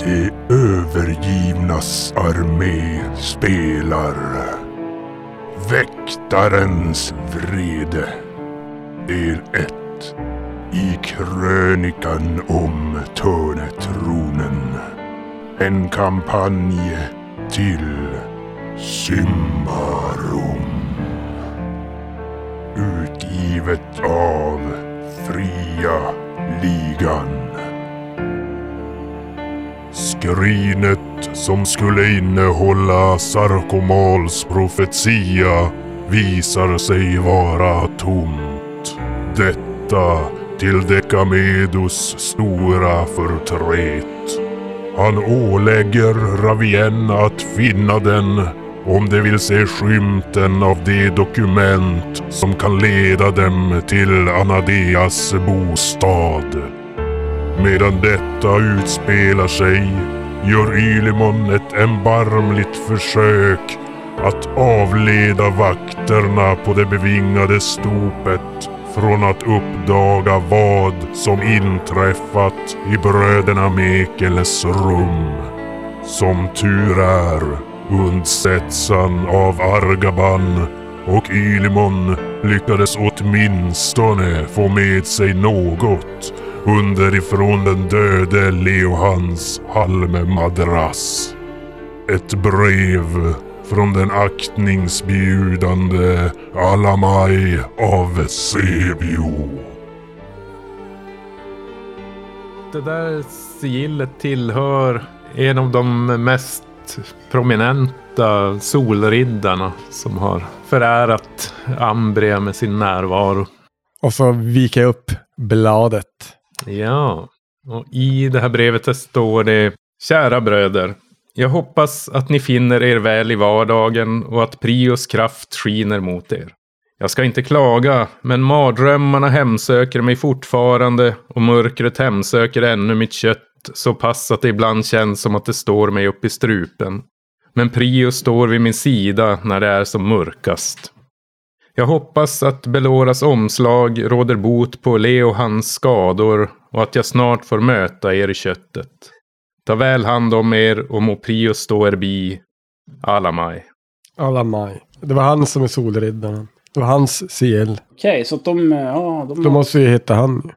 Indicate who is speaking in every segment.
Speaker 1: De övergivnas armé spelar Väktarens vrede Del 1 I krönikan om Törnetronen En kampanj till Symbarum Utgivet av Fria Ligan Skrinet som skulle innehålla Sarkomals profetia visar sig vara tomt. Detta till Dekamedus stora förtret. Han ålägger Ravien att finna den om de vill se skymten av det dokument som kan leda dem till Anadeas bostad. Medan detta utspelar sig gör Ylimon ett erbarmligt försök att avleda vakterna på det bevingade stopet från att uppdaga vad som inträffat i bröderna Mekeles rum. Som tur är undsätts han av Argaban och Ylimon lyckades åtminstone få med sig något underifrån den döde Leohans halmmadrass. Ett brev från den aktningsbjudande Alamaj av Sebio.
Speaker 2: Det där sigillet tillhör en av de mest prominenta solriddarna som har förärat Ambria med sin närvaro.
Speaker 3: Och så viker jag upp bladet.
Speaker 2: Ja, och i det här brevet där står det Kära bröder, jag hoppas att ni finner er väl i vardagen och att Prios kraft skiner mot er. Jag ska inte klaga, men mardrömmarna hemsöker mig fortfarande och mörkret hemsöker ännu mitt kött så pass att det ibland känns som att det står mig upp i strupen. Men Prius står vid min sida när det är som mörkast. Jag hoppas att Beloras omslag råder bot på Leo hans skador och att jag snart får möta er i köttet. Ta väl hand om er och må Prius stå er bi. Alamaj.
Speaker 3: Alamaj. Det var han som är solriddaren. Det var hans CL.
Speaker 4: Okej, så att de... eh, Ja, de,
Speaker 3: Då
Speaker 5: Mm.
Speaker 3: måste vi hitta han.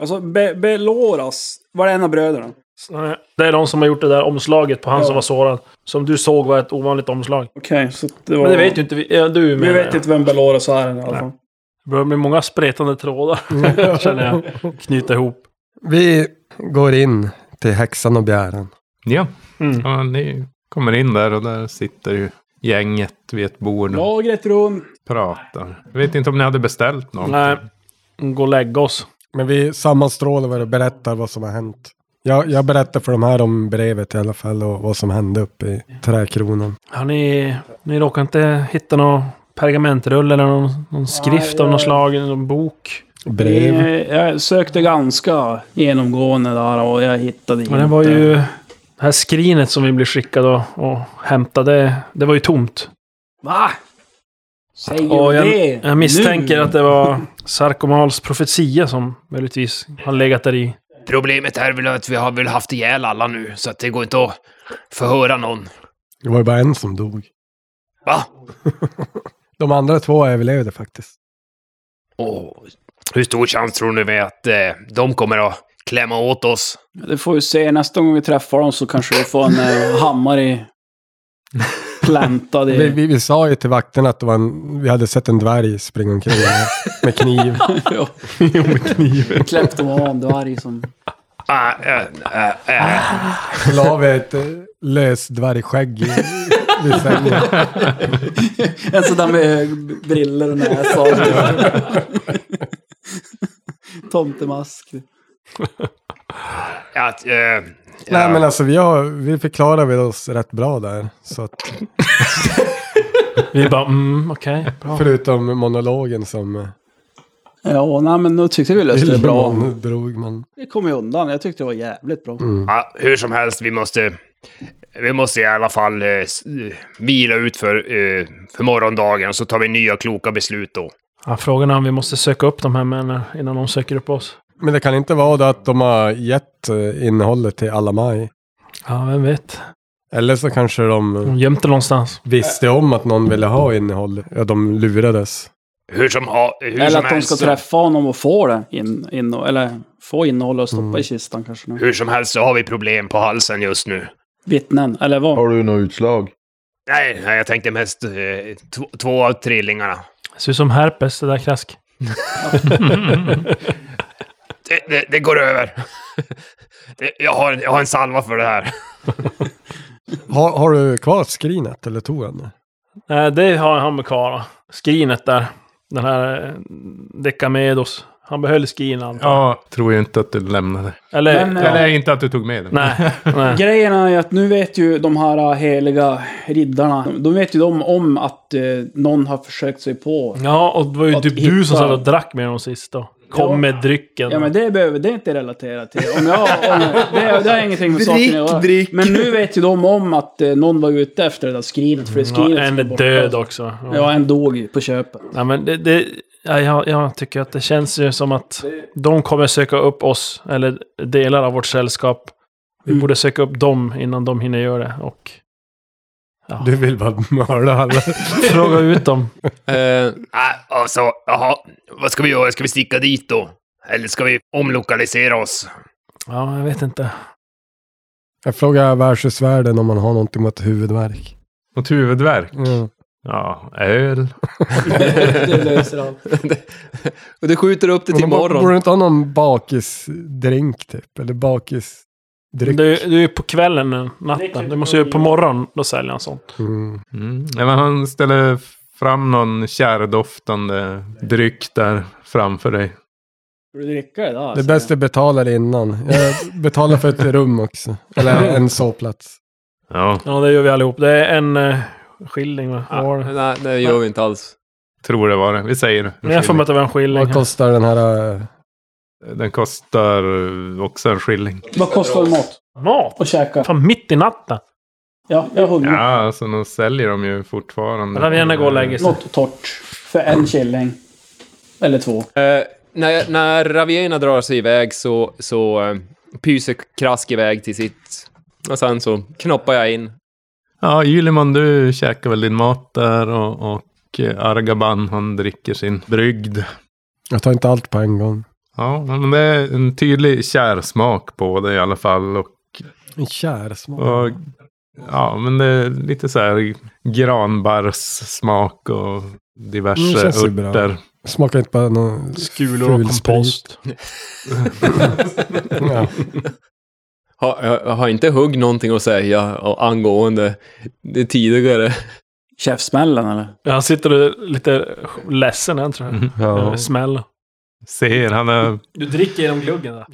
Speaker 4: Alltså, Be- Beloras var det en av bröderna.
Speaker 5: Nej, Det är de som har gjort det där omslaget på han
Speaker 4: Ja.
Speaker 5: som var sårad. Som du såg var ett ovanligt omslag.
Speaker 4: Okej, så att det var...
Speaker 5: Men det vet ju inte vi. Ja, du
Speaker 4: Vi
Speaker 5: menar
Speaker 4: vet
Speaker 5: jag.
Speaker 4: inte vem Beloras är i alla fall.
Speaker 5: Det börjar bli många spretande trådar. Känner jag. Knyta ihop.
Speaker 3: Vi går in till häxan och begäran.
Speaker 2: Ja,
Speaker 5: Mm.
Speaker 2: ja, ni kommer in där och där sitter ju gänget vid ett bord och
Speaker 4: Lagret runt.
Speaker 2: pratar. Jag vet inte om ni hade beställt något.
Speaker 5: Nej. Gå och lägga oss.
Speaker 3: Men vi sammanstrålar vad det berättar vad som har hänt. Jag, jag berättar för de här om brevet i alla fall och vad som hände uppe i träkronan.
Speaker 5: Har ni, ni råkar inte hitta någon pergamentrulle eller någon, någon skrift av
Speaker 4: jag-
Speaker 5: något slag? Någon bok?
Speaker 3: Brev.
Speaker 4: Eh, Jag sökte ganska genomgående där och jag hittade
Speaker 5: Men det var ju... Det här skrinet som vi blev skickade och, och hämtade, det var ju tomt.
Speaker 4: Va? Säger
Speaker 5: Och
Speaker 4: du
Speaker 5: jag,
Speaker 4: det
Speaker 5: jag misstänker
Speaker 4: nu?
Speaker 5: att det var Sarkomals profetia som möjligtvis har legat där i.
Speaker 6: Problemet är väl att vi har väl haft ihjäl alla nu, så att det går inte att förhöra någon.
Speaker 3: Det var ju bara en som dog.
Speaker 6: Va?
Speaker 3: De andra två överlevde faktiskt.
Speaker 6: Åh, hur stor chans tror ni vi att eh, de kommer att klämma åt oss?
Speaker 4: Det får vi se. Nästa gång vi träffar dem så kanske vi får en eh, hammare i... Plantad
Speaker 3: Vi,
Speaker 4: i...
Speaker 3: vi, vi sa ju till vakterna att det var en, vi hade sett en dvärg springa omkring här med kniv.
Speaker 4: Ja, Kläppt dem av en dvärg som...
Speaker 6: Ah, eh, eh, eh.
Speaker 3: Så la vi ett eh, löst dvärgskägg i, i sängen.
Speaker 4: En sån där med briller och näsa. Tomtemask.
Speaker 6: Att, eh, ja.
Speaker 3: Nej men alltså vi, har, vi förklarar väl oss rätt bra där. Så att,
Speaker 5: Vi bara mm, okej, bra.
Speaker 3: förutom monologen som eh,
Speaker 4: Ja, nej, men nu tyckte vi löste det bra.
Speaker 3: Ilman drog. Man.
Speaker 4: Det kom ju undan. Jag tyckte det var jävligt bra.
Speaker 3: Mm.
Speaker 6: Ja, hur som helst, vi måste... Vi måste i alla fall eh, s- eh, vila ut för, eh, för morgondagen, så tar vi nya kloka beslut då.
Speaker 5: Ja, frågan är om vi måste söka upp de här männen innan de söker upp oss.
Speaker 3: Men det kan inte vara då att de har gett eh, innehållet till alla maj.
Speaker 5: Ja, vem vet.
Speaker 3: Eller så kanske de eh,
Speaker 5: De gömt det någonstans.
Speaker 3: visste om att någon ville ha innehållet. Ja, de lurades.
Speaker 6: Hur som, ha, hur
Speaker 4: Eller
Speaker 6: som
Speaker 4: att de
Speaker 6: helst,
Speaker 4: ska träffa honom och få det. In, in, eller få innehållet och stoppa
Speaker 3: Mm.
Speaker 4: i kistan kanske. Nu.
Speaker 6: hur som helst så har vi problem på halsen just nu.
Speaker 4: Vittnen, eller vad?
Speaker 7: Har du något utslag?
Speaker 6: Nej, nej, jag tänkte mest eh, tv- två av trillingarna.
Speaker 5: Ser ut som herpes, det där krask.
Speaker 6: Det, det, det går över. Det, jag, har, en- jag har en salva för det här.
Speaker 3: Har, har du kvar skrinet eller tog han det?
Speaker 5: Nej, det har han med kvar. då. Skrinet där. Den här eh, Decamedos. Han behöll skrin antar jag.
Speaker 2: Ja, tror ju inte att du lämnade.
Speaker 5: Eller...
Speaker 4: Men,
Speaker 5: ja.
Speaker 4: eh,
Speaker 2: Eller inte att du tog med den.
Speaker 5: Nej, nej.
Speaker 4: Grejen är ju att nu vet ju de här eh, heliga riddarna, de vet ju de om att eh, någon har försökt sig på.
Speaker 5: Ja, och det var ju
Speaker 4: Att
Speaker 5: typ du som
Speaker 4: hitta-
Speaker 5: satt och drack med dem sist då. Kom
Speaker 4: Ja.
Speaker 5: med drycken.
Speaker 4: Ja men det behöver det är inte relatera till. Om jag, om, det, det har ingenting med saken att göra.
Speaker 7: Drick, drick.
Speaker 4: Men nu vet ju de om att eh, någon var ute efter det där skrinet. För det skrinet
Speaker 5: ja, en
Speaker 4: ska
Speaker 5: är
Speaker 4: bort.
Speaker 5: död också. Ja.
Speaker 4: Ja, en dog ju på köpet.
Speaker 5: Nej, men det, det, ja, jag, jag tycker att det känns ju som att de kommer söka upp oss, eller delar av vårt sällskap. Vi
Speaker 4: Mm.
Speaker 5: borde söka upp dem innan de hinner göra det. Och ja,
Speaker 3: Du vill bara mörda alla.
Speaker 5: fråga ut dem.
Speaker 6: Uh, alltså, jaha. Vad ska vi göra? Ska vi sticka dit då? Eller ska vi omlokalisera oss?
Speaker 5: Ja, jag vet inte.
Speaker 3: Jag frågar värdshusvärden om man har någonting mot huvudvärk.
Speaker 2: Något huvudvärk?
Speaker 5: Mm.
Speaker 3: Ja.
Speaker 2: Ja, öl.
Speaker 4: det löser allt.
Speaker 8: Och det skjuter upp det till
Speaker 3: Men de Borde
Speaker 8: imorgon.
Speaker 3: borde du inte ha någon bakisdrink typ? Eller bakisdryck?
Speaker 5: Du, du är ju på kvällen nu, natten. Du måste ju på morgonen, då säljer han sånt.
Speaker 3: Mm.
Speaker 2: Mm. Nej, men han ställer fram någon kärdoftande dryck där framför dig.
Speaker 4: Ska du dricka idag?
Speaker 3: Det
Speaker 4: alltså?
Speaker 3: bästa är betalar innan. Jag betalar för ett rum också. Eller en sovplats.
Speaker 2: Ja,
Speaker 5: Ja, det gör vi allihop. Det är en eh, skilling, va? Vad var det?
Speaker 8: Nej, det gör vi inte alls.
Speaker 2: tror det var det. Vi säger
Speaker 5: Men jag får mig att det var en skilling.
Speaker 3: Vad kostar den här? eh,
Speaker 2: Den kostar eh, också en skilling.
Speaker 4: Vad kostar mat?
Speaker 5: Mat?
Speaker 4: Att käka?
Speaker 5: Fan, mitt i natten?
Speaker 4: Ja, jag är hungrig.
Speaker 2: Ja, alltså de säljer dem ju fortfarande.
Speaker 5: Men han vill gärna gå och lägga sig.
Speaker 4: Något torrt. För en killing. Eller två.
Speaker 8: Eh, när, när Ravena drar sig iväg så, så eh, pyser Krask iväg till sitt... Och sen så knoppar jag in.
Speaker 2: Ja, Ylimon, du käkar väl din mat där och, och eh, Argaban, han dricker sin brygd.
Speaker 3: Jag tar inte allt på en gång.
Speaker 2: Ja, men det är en tydlig kärsmak på det i alla fall. Och,
Speaker 3: En kärsmak.
Speaker 2: och, ja, men det är lite så här granbarrssmak och
Speaker 3: Mm,
Speaker 2: diverse
Speaker 3: känns ju bra.
Speaker 2: örter.
Speaker 3: Smakar inte bara någon
Speaker 5: Skulor och
Speaker 3: ful sprit.
Speaker 5: kompost.
Speaker 3: Ja.
Speaker 8: Har, jag, jag har inte hugg någonting att säga angående det tidigare.
Speaker 4: Käftsmällen eller?
Speaker 5: Ja, Han sitter och är lite ledsen han tror jag.
Speaker 3: Mm-hmm.
Speaker 5: Över Smäll.
Speaker 2: Ser, han är...
Speaker 5: Du dricker genom gluggen där.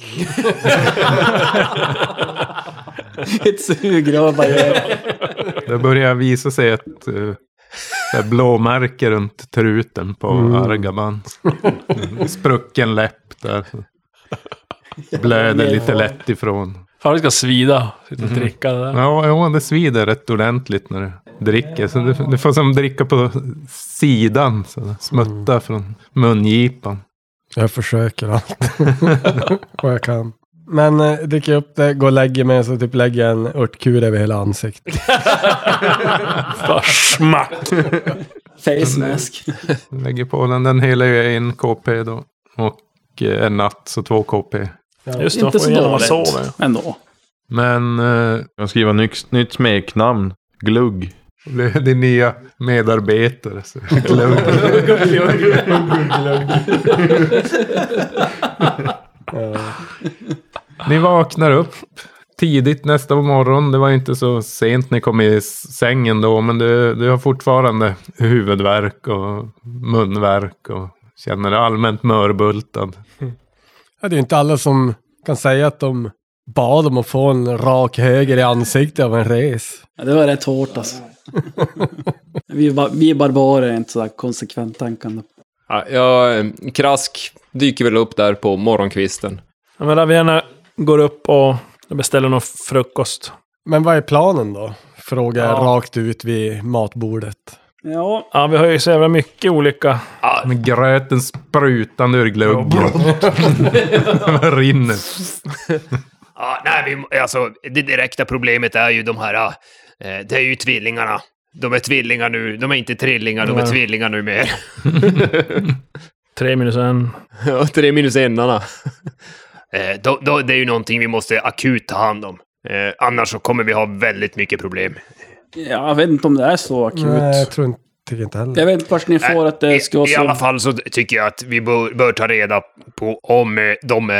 Speaker 4: Ett sugrör bara gör.
Speaker 2: Det börjar visa sig ett eh, så här blåmärke runt truten på
Speaker 3: Mm.
Speaker 2: Argaban. Sprucken läpp där. Blöder lite lätt ifrån. Mm.
Speaker 5: Fan det ska svida. Sitta
Speaker 3: Mm-hmm.
Speaker 5: och dricka det där.
Speaker 2: Ja, ja, det svider rätt ordentligt när du dricker. Så du, du får som dricka på sidan. Så där. smutta
Speaker 3: Mm.
Speaker 2: från mungipan.
Speaker 3: Jag försöker allt. Vad jag kan. Men eh, dricker jag upp det, går och lägger mig så typ lägger jag en örtkula över hela ansiktet.
Speaker 5: Bara smack.
Speaker 4: Face mask.
Speaker 2: Lägger på den. Den hela är en KP då. Och eh, en natt, så två KP.
Speaker 5: Just det, man
Speaker 4: Inte
Speaker 5: får
Speaker 4: så
Speaker 5: ju gärna
Speaker 4: dåligt.
Speaker 5: sover.
Speaker 4: Ändå.
Speaker 2: Men eh,
Speaker 7: Jag skriver nytt, nytt smeknamn. Glugg.
Speaker 2: blir din nya medarbetare. Så. Glögg. Ni vaknar upp tidigt nästa morgon. Det var inte så sent ni kom i s- sängen då. Men du, du har fortfarande huvudvärk och munvärk. Och känner dig allmänt mörbultad.
Speaker 3: Ja, det är ju inte alla som kan säga att de bad om att få en rak höger i ansiktet av en res.
Speaker 4: Ja, det var rätt hårt alltså. vi, ba- vi barbarer är inte sådär konsekvent tänkande.
Speaker 8: Ja, jag, eh, krask dyker väl upp där på morgonkvisten.
Speaker 5: Ja, men Ravena går upp och beställer någon frukost.
Speaker 3: Men vad är planen då? Frågar jag
Speaker 5: Ja.
Speaker 3: rakt ut vid matbordet.
Speaker 4: Ja,
Speaker 5: Ja, vi har ju så jävla mycket olika.
Speaker 2: Med gröten sprutande ur glöggen. Den rinner.
Speaker 6: Ja, nej, vi, alltså, det direkta problemet är ju de här... eh, det är ju tvillingarna. De är tvillingar nu. De är inte trillingar, de är
Speaker 5: Nej.
Speaker 6: tvillingar nu mer.
Speaker 5: Tre minus en.
Speaker 8: Ja, tre minus enarna.
Speaker 6: Eh, då, då, det är ju någonting vi måste akut ta hand om. Eh, annars så kommer vi ha väldigt mycket problem.
Speaker 4: Jag vet inte om det är så akut.
Speaker 3: Nej, jag tror inte, tycker inte heller.
Speaker 4: Jag vet inte vart ni får att det ska
Speaker 6: Eh, I,
Speaker 4: vara
Speaker 6: I alla
Speaker 4: så.
Speaker 6: fall så tycker jag att vi bör, bör ta reda på om eh, de eh,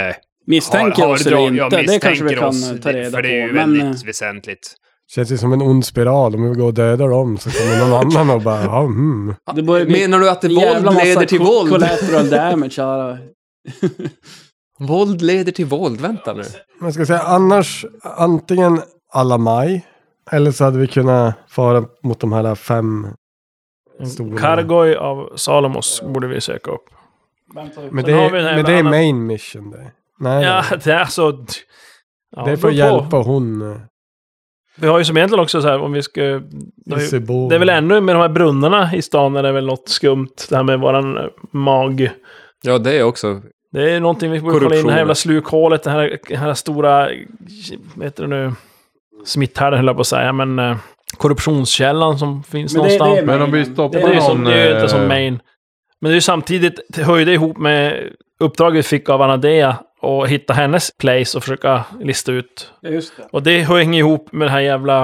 Speaker 4: Misstänker oss eller
Speaker 6: drag- ja,
Speaker 4: inte, det kanske vi
Speaker 6: misstänker
Speaker 4: kan
Speaker 6: oss,
Speaker 4: ta reda
Speaker 6: För det är
Speaker 4: på.
Speaker 6: ju
Speaker 4: Men
Speaker 6: väldigt
Speaker 4: eh,
Speaker 6: väsentligt.
Speaker 3: Känns ju som en ond spiral. Om vi går och dödar dem så kommer någon annan och bara, ja, mm.
Speaker 4: det börjar bli
Speaker 8: Menar du att
Speaker 4: en jävla
Speaker 8: våld
Speaker 4: massa
Speaker 8: leder till
Speaker 4: co-
Speaker 8: våld?
Speaker 4: Collateral damage, kära.
Speaker 8: Våld leder till våld, vänta nu.
Speaker 3: Man ska säga annars, antingen alla maj. Eller så hade vi kunnat fara mot de här fem
Speaker 5: En
Speaker 3: Stora.
Speaker 5: Kargoj av Salomos borde vi söka upp.
Speaker 3: Men
Speaker 5: Sen
Speaker 3: det,
Speaker 5: har vi den här
Speaker 3: men det är
Speaker 5: med-
Speaker 3: main mission det. Nej,
Speaker 5: Ja,
Speaker 3: nej.
Speaker 5: det är så... Ja,
Speaker 3: det är
Speaker 5: beror
Speaker 3: för
Speaker 5: på.
Speaker 3: att hjälpa hon, eh,
Speaker 5: Vi har ju som egentligen också så här om vi ska... Det, har ju,
Speaker 3: Isebo.
Speaker 5: det är väl ännu med de här brunnarna i stan är det väl något skumt. Det här med våran eh, mag.
Speaker 8: Ja, det är också.
Speaker 5: Det är någonting vi borde kolla in. Det här jävla slukhålet, det här, det här stora... Vad heter det nu? Smitthärden höll jag på att säga, men... eh, Korruptionskällan som finns
Speaker 4: Men det-
Speaker 5: någonstans.
Speaker 4: det är
Speaker 7: Men om vi
Speaker 4: mainen.
Speaker 5: Det
Speaker 7: stoppar
Speaker 5: är ju
Speaker 7: någon...
Speaker 5: som, det är ju inte som
Speaker 7: eh,
Speaker 5: main. Men det är ju samtidigt, det höjde ihop med uppdraget vi fick av Anadea och hitta hennes place och försöka lista ut.
Speaker 4: Ja, just det.
Speaker 5: Och det hänger ihop med den här jävla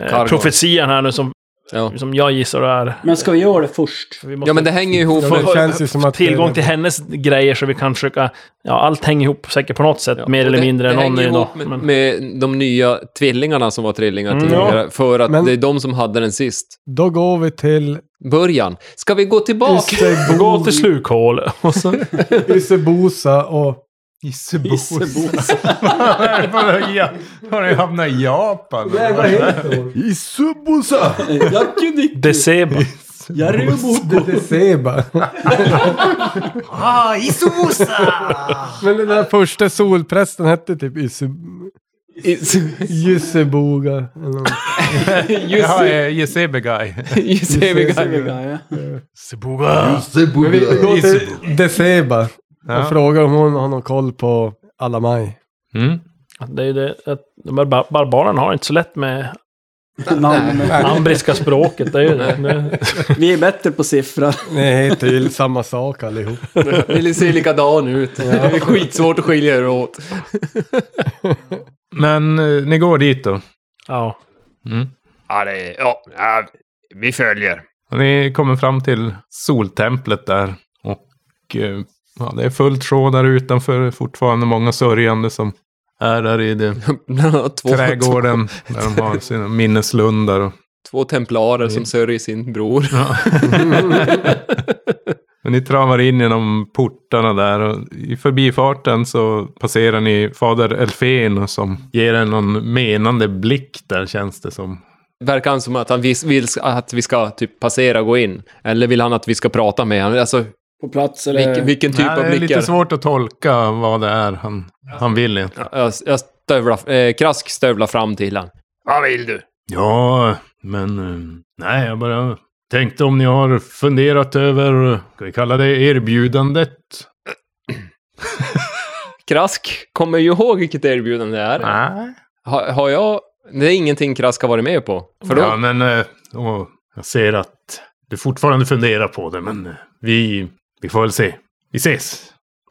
Speaker 5: eh,
Speaker 8: Cargo.
Speaker 5: profetian här nu som,
Speaker 8: Ja.
Speaker 5: som jag gissar det är.
Speaker 4: Men ska vi göra det först?
Speaker 5: För vi måste
Speaker 8: ja, men det hänger ju ihop
Speaker 3: Ja,
Speaker 5: få
Speaker 3: men
Speaker 8: med...
Speaker 3: det känns ju som att
Speaker 5: tillgång
Speaker 3: det-
Speaker 5: till hennes grejer så vi kan försöka... Ja, allt hänger ihop säkert på något sätt,
Speaker 8: Ja,
Speaker 5: mer
Speaker 8: och
Speaker 5: eller
Speaker 8: det,
Speaker 5: mindre.
Speaker 8: det
Speaker 5: någon
Speaker 8: hänger
Speaker 5: är
Speaker 8: ihop
Speaker 5: något,
Speaker 8: med,
Speaker 5: men,
Speaker 8: med de nya tvillingarna som var trillingar
Speaker 5: Mm,
Speaker 8: tidigare. För att
Speaker 3: Men-
Speaker 8: det är de som hade den sist.
Speaker 3: Då går vi till
Speaker 8: Början. Ska vi gå tillbaka?
Speaker 5: Gå
Speaker 3: Isebo,
Speaker 5: till slukhål. Och så,
Speaker 3: Isebosa och...
Speaker 2: Issebos. Vad är det för öja? Har ni hamnat i Japan?
Speaker 7: Issubusa!
Speaker 4: Jag kunde inte...
Speaker 5: Decebo.
Speaker 4: Jag
Speaker 3: Det är Seba.
Speaker 2: Ah, Issobusa!
Speaker 3: Men den där första solprästen hette typ Isse... Jusseboga. eller något.
Speaker 2: Jaha, eh, Jezebe guy. Sebuga!
Speaker 3: Men vi går till Deceba
Speaker 2: Ja.
Speaker 3: och frågar om hon har någon koll på alla maj.
Speaker 2: Mm.
Speaker 5: Det är ju det att de här bar- barbarerna har inte så lätt med
Speaker 4: Namn.
Speaker 5: ambriska språket. Det är ju det. det.
Speaker 4: Vi är bättre på siffror.
Speaker 3: Ni heter ju samma sak allihop.
Speaker 8: Ni ser likadan ut. Det är skitsvårt att skilja er åt.
Speaker 2: Men eh, ni går dit då?
Speaker 5: Ja.
Speaker 3: Mm.
Speaker 6: Ja, det, är- ja, ja, vi följer.
Speaker 2: Och Ni kommer fram till soltemplet där. Och eh, ja, det är fullt sjå där utanför. Fortfarande många sörjande som är där i det,
Speaker 8: Bland annat två, två,
Speaker 2: trädgården. Där de har sina minneslundar. Och,
Speaker 8: två templarer som sörjer sin bror.
Speaker 2: och ni travar in genom portarna där. Och I förbifarten så passerar ni fader Elfen. och Som ger en någon menande blick där känns det som.
Speaker 8: Verkar han som att han vis- vill att vi ska typ passera och gå in? Eller vill han att vi ska prata med honom? Alltså,
Speaker 4: På plats eller...
Speaker 8: vilken, vilken typ
Speaker 2: Nej,
Speaker 8: av
Speaker 2: Eh, det är lite
Speaker 8: blickar?
Speaker 2: svårt att tolka vad det är han, han vill egentligen.
Speaker 8: Jag, jag stövlar, eh, krask stövlar fram till honom.
Speaker 6: Vad vill du?
Speaker 2: Ja, men eh, nej, jag bara tänkte om ni har funderat över, eh, ska vi kalla det erbjudandet?
Speaker 8: Krask kommer ju ihåg vilket erbjudande det är.
Speaker 2: Nej.
Speaker 8: Ha, har jag... Det är ingenting Krask har varit med på. För då,
Speaker 2: Ja, men eh, åh, jag ser att du fortfarande funderar på det, men eh, vi, vi får väl se. Vi ses!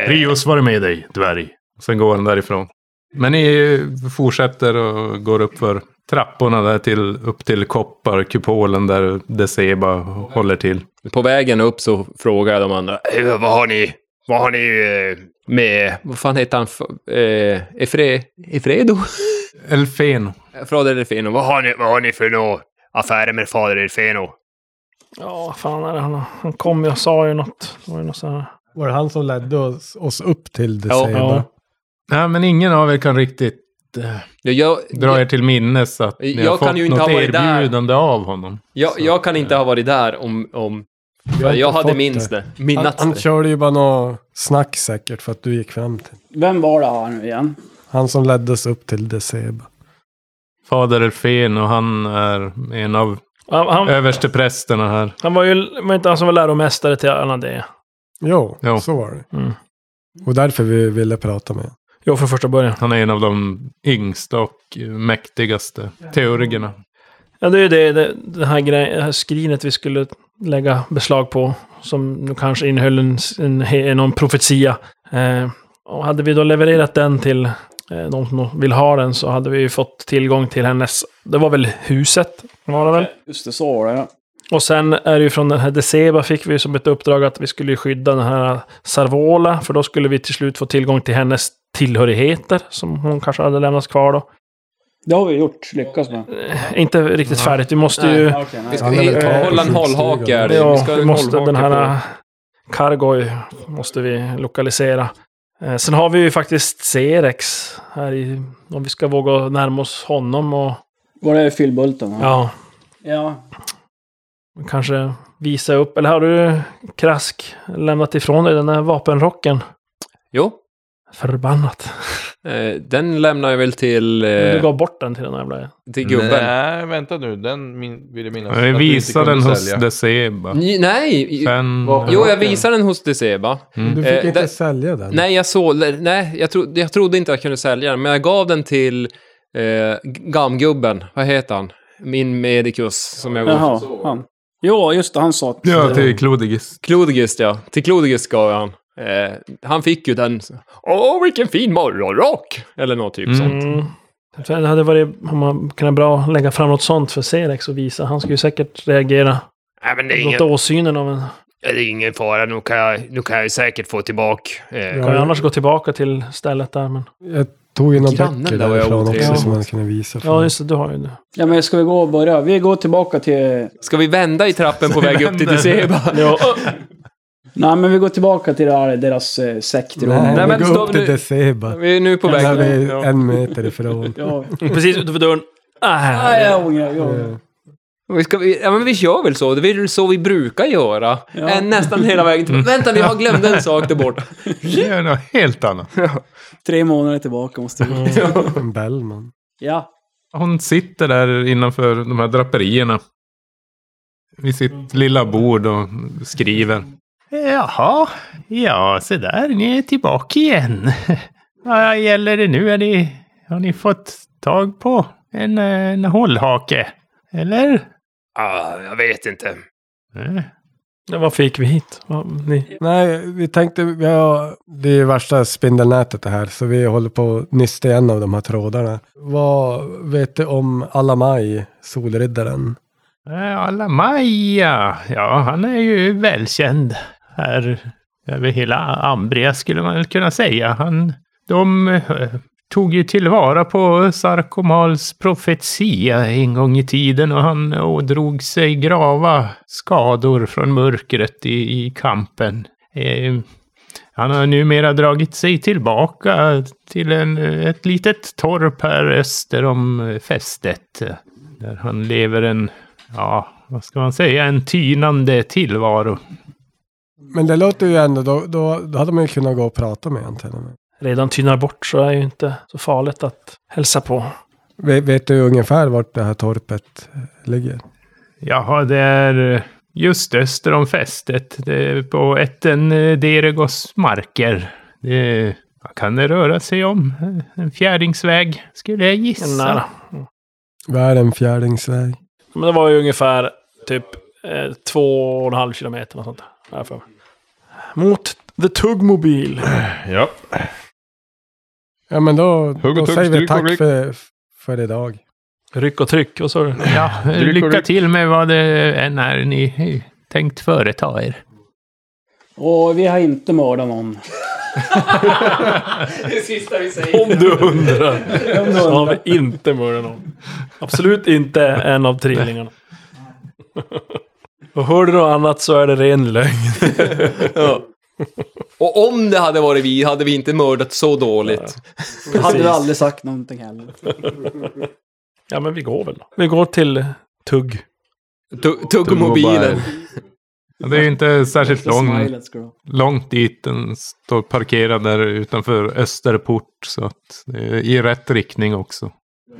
Speaker 2: Rios, var det med dig, dvärg? Sen går han därifrån. Men ni eh, fortsätter och går upp för trapporna där till, upp till kopparkupolen där Deceba håller till.
Speaker 8: på vägen upp så frågar jag de andra.
Speaker 6: Eh, Vad har ni? Vad har ni eh, med?
Speaker 8: Vad fan heter han? F- eh, Efre... Efredo?
Speaker 2: Elfen.
Speaker 8: Fader Elfeno.
Speaker 6: Eh, Vad har ni, vad har ni för nå affärer med fader Elfeno?
Speaker 5: Ja, fan är det han? Han kom ju och sa ju något. Det var ju något så här.
Speaker 3: Var det han som ledde oss, oss upp till
Speaker 8: Ja,
Speaker 3: Deceba?
Speaker 5: ja.
Speaker 2: Nej, men ingen av er kan riktigt eh,
Speaker 8: Jag, jag,
Speaker 2: dra er till minnes att ni
Speaker 8: Jag
Speaker 2: har
Speaker 8: kan
Speaker 2: fått
Speaker 8: ju inte
Speaker 2: något
Speaker 8: ha varit där.
Speaker 2: erbjudande av honom.
Speaker 8: jag, jag kan
Speaker 6: eh.
Speaker 8: inte ha varit där om... om
Speaker 3: har
Speaker 8: jag
Speaker 3: inte
Speaker 8: hade
Speaker 3: fått
Speaker 8: minst det.
Speaker 3: Han,
Speaker 8: Minnats
Speaker 3: han
Speaker 8: det.
Speaker 3: körde ju bara något snack säkert för att du gick fram till.
Speaker 4: Vem var det här nu igen?
Speaker 3: Han som ledde oss upp till Deceba.
Speaker 2: Fader Elfen och han är en av
Speaker 5: Han, han,
Speaker 2: översteprästerna här.
Speaker 5: han var ju var inte han som var läromästare till Anadea.
Speaker 3: Jo,
Speaker 2: Jo.
Speaker 3: så var det.
Speaker 5: Mm.
Speaker 3: Och därför vi ville prata med honom.
Speaker 5: Ja, från första början.
Speaker 2: Han är en av de yngsta och eh, mäktigaste teurgerna.
Speaker 5: Ja, det är ju det, det, det, här grej, det här skrinet vi skulle lägga beslag på, som nu kanske innehöll en, en, he- någon profetia. Eh, och hade vi då levererat den till eh, de som vill ha den så hade vi ju fått tillgång till hennes, det var väl huset, var det väl?
Speaker 4: Just det, så var det ja.
Speaker 5: Och sen är det ju från den här Deceba fick vi ju som ett uppdrag att vi skulle ju skydda den här Sarvola, för då skulle vi till slut få tillgång till hennes tillhörigheter som hon kanske hade lämnats kvar då.
Speaker 4: Det har vi gjort, lyckats med.
Speaker 5: Eh, Inte riktigt färdigt, vi måste ju...
Speaker 4: Ja, okej, nej.
Speaker 8: Vi ska
Speaker 3: Han är väl kvar på
Speaker 8: hålla en
Speaker 3: sjukstugan.
Speaker 8: hållhake här.
Speaker 5: Ja,
Speaker 8: vi ska ha
Speaker 5: vi
Speaker 8: en
Speaker 5: måste,
Speaker 8: hållhake
Speaker 5: den här
Speaker 8: på-
Speaker 5: Kargoy måste vi lokalisera. Eh, Sen har vi ju faktiskt Cerex här i, om vi ska våga närma oss honom och
Speaker 4: Var det fyllbulten? va?
Speaker 5: ja,
Speaker 4: ja.
Speaker 5: kanske visa upp. Eller har du Krask lämnat ifrån dig den där vapenrocken?
Speaker 8: Jo,
Speaker 5: Förbannat.
Speaker 8: eh, den lämnar jag väl till,
Speaker 5: Men Du
Speaker 8: eh,
Speaker 5: gav bort den till den där jävla...
Speaker 8: till gubben.
Speaker 7: Nej, vänta nu. Den min, vill jag minnas. att du
Speaker 2: Jag
Speaker 7: inte
Speaker 2: visar
Speaker 7: kunde
Speaker 2: den hos
Speaker 7: sälja.
Speaker 2: Deceba.
Speaker 8: Nej, nej.
Speaker 2: Sen... Mm.
Speaker 8: jo jag visar den hos Deceba.
Speaker 3: Du
Speaker 8: Eh,
Speaker 3: fick inte
Speaker 8: det-
Speaker 3: sälja den.
Speaker 8: Nej, jag såg, nej jag, tro, jag trodde inte jag kunde sälja den, men jag gav den till eh, gamgubben, vad heter han? Min medikus som jag gav.
Speaker 4: Jaha, han. Jo, just det, han sa att...
Speaker 2: Ja, till Klodigis.
Speaker 8: Klodigist ja, till Klodigist gav jag han. Eh, han fick ju den. Åh, vilken fin morgonrock! Eller något typ sånt.
Speaker 5: Mm. Så Det hade varit om man kunnat bra lägga fram något sånt för Cerex och visa. Han skulle ju säkert reagera.
Speaker 6: Nej, men det är, ingen, Eh.
Speaker 5: Låta åsynen av en...
Speaker 6: det är ingen fara. Nu kan jag, nu kan jag ju säkert få tillbaka. Eh,
Speaker 5: Kan ju annars gå tillbaka till stället där men...
Speaker 3: Jag tog ju några
Speaker 8: Grannen
Speaker 3: böcker
Speaker 8: där var jag
Speaker 3: därifrån också
Speaker 8: otrevlig
Speaker 3: som man kunde visa.
Speaker 5: Ja,
Speaker 3: För.
Speaker 5: just det. Du har ju det.
Speaker 4: Ja, men ska vi gå och börja? Vi går tillbaka till...
Speaker 8: Ska vi vända i trappen på väg upp till Deceba?
Speaker 5: Ja,
Speaker 4: Nej, men vi går tillbaka till det här, deras eh, sektor.
Speaker 3: Nej,
Speaker 8: Nej,
Speaker 3: men
Speaker 8: men
Speaker 3: gå
Speaker 8: stopp
Speaker 3: upp till
Speaker 8: nu.
Speaker 3: Deceba.
Speaker 8: Vi är nu på
Speaker 3: Där
Speaker 8: väg.
Speaker 3: vi är
Speaker 8: Ja.
Speaker 3: en meter ifrån.
Speaker 4: Ja.
Speaker 5: precis utanför dörren. Ah,
Speaker 4: Nej, jag ångrar. Ja.
Speaker 3: Eh,
Speaker 8: Vi, ska, vi- ja, men vi gör väl så. Det är väl så vi brukar göra.
Speaker 4: Ja.
Speaker 8: Eh, nästan hela vägen
Speaker 5: Mm.
Speaker 8: till... Vänta, vi har glömt en sak där borta.
Speaker 2: Det är något helt annat.
Speaker 4: Tre månader tillbaka måste vi...
Speaker 3: En Bellman.
Speaker 4: Ja.
Speaker 2: Hon sitter där innanför de här draperierna. Vid sitt lilla bord och skriver. Jaha, ja se där, ni är tillbaka igen. Vad gäller det nu? Är ni, har ni fått tag på en, eh, en hållhake? Eller?
Speaker 6: ah, jag vet inte.
Speaker 2: Eh,
Speaker 5: Ja, Varför gick vi hit? Va, ni,
Speaker 3: Nej, vi tänkte, vi har, det är ju värsta spindelnätet det här, så vi håller på att nysta igen av de här trådarna. Vad vet du om Alamaj, Solriddaren?
Speaker 2: eh, Alamaja, ja han är ju välkänd här över hela Ambria skulle man väl kunna säga. Han, de eh, tog ju tillvara på Sarkomals profetia en gång i tiden och han ådrog sig grava skador från mörkret i, i kampen. Eh, han har numera dragit sig tillbaka till en, ett litet torp här öster om fästet. eh, Där han lever en, ja, vad ska man säga, en tynande tillvaro.
Speaker 3: Men det låter ju ändå, då, då, då hade man ju kunnat gå och prata med egentligen.
Speaker 5: redan tynar bort så är ju inte så farligt att hälsa på.
Speaker 3: Vet, vet du ungefär vart det här torpet ligger?
Speaker 2: Jaha, det är just öster om fästet. Det är på etten eh, Deregos marker. Det är, vad kan det röra sig om? En fjärdingsväg, skulle jag gissa.
Speaker 5: Nära.
Speaker 3: Vad är en fjärdingsväg?
Speaker 5: Men det var ju ungefär typ eh, två och en halv kilometer. Något sånt där. Har jag för mig. Mot The Tugmobil.
Speaker 7: Ja.
Speaker 3: Ja men då,
Speaker 7: Hugg och
Speaker 3: då
Speaker 7: tugg,
Speaker 3: säger vi
Speaker 7: stryk och
Speaker 3: tack
Speaker 7: ryck.
Speaker 3: för, för idag.
Speaker 5: Ryck och tryck. Och så
Speaker 2: Ja,
Speaker 7: Dryck och
Speaker 2: lycka
Speaker 7: ryck.
Speaker 2: till med vad det än är ni eh, tänkt företa er.
Speaker 4: Och vi har inte mördat någon.
Speaker 5: om du undrar så har vi inte mördat någon. Absolut inte en av trillingarna. Och hör du något annat så är det ren lögn.
Speaker 8: Och om det hade varit vi hade vi inte mördat så dåligt.
Speaker 4: Då hade vi aldrig sagt någonting heller.
Speaker 5: Ja men vi går väl då. Vi går till Tugg.
Speaker 8: Tu- Tuggmobilen.
Speaker 2: Det är ju inte Eh, särskilt lång,
Speaker 4: Smilet ska du ha.
Speaker 2: långt dit. Den står parkerad där utanför Österport. Så att det är i rätt riktning också.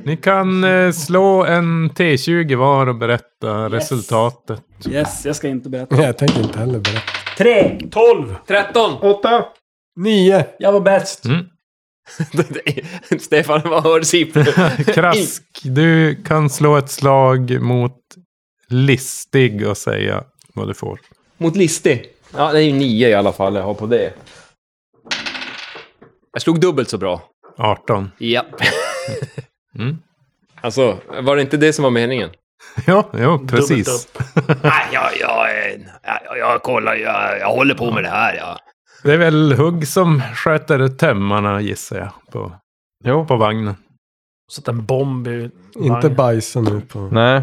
Speaker 2: Ni kan eh, slå en T20 var och berätta resultatet.
Speaker 4: Yes, jag ska inte berätta.
Speaker 3: Nej, Jag tänker inte heller berätta.
Speaker 4: Tre!
Speaker 8: 13!
Speaker 7: 8.
Speaker 3: Nio!
Speaker 4: Jag var bäst!
Speaker 2: Mm.
Speaker 8: Stefan, vad hör siffror?
Speaker 2: Krask, du kan slå ett slag mot listig och säga vad du får.
Speaker 8: Mot listig. Ja, det är ju nio i alla fall jag har på det. Jag slog dubbelt så bra.
Speaker 2: 18.
Speaker 8: Ja.
Speaker 2: Mm.
Speaker 8: Alltså, var det inte det som var meningen?
Speaker 2: Ja, jo, precis.
Speaker 5: upp.
Speaker 6: Nej, jag, jag, eh, jag, jag kollar, jag, jag håller på med det här. Jag.
Speaker 2: Det är väl Hugg som sköter tömmarna gissar jag på, på vagnen.
Speaker 5: Så att en bomb i
Speaker 3: Inte
Speaker 5: vagnen.
Speaker 3: bajsa nu på...
Speaker 7: Nej,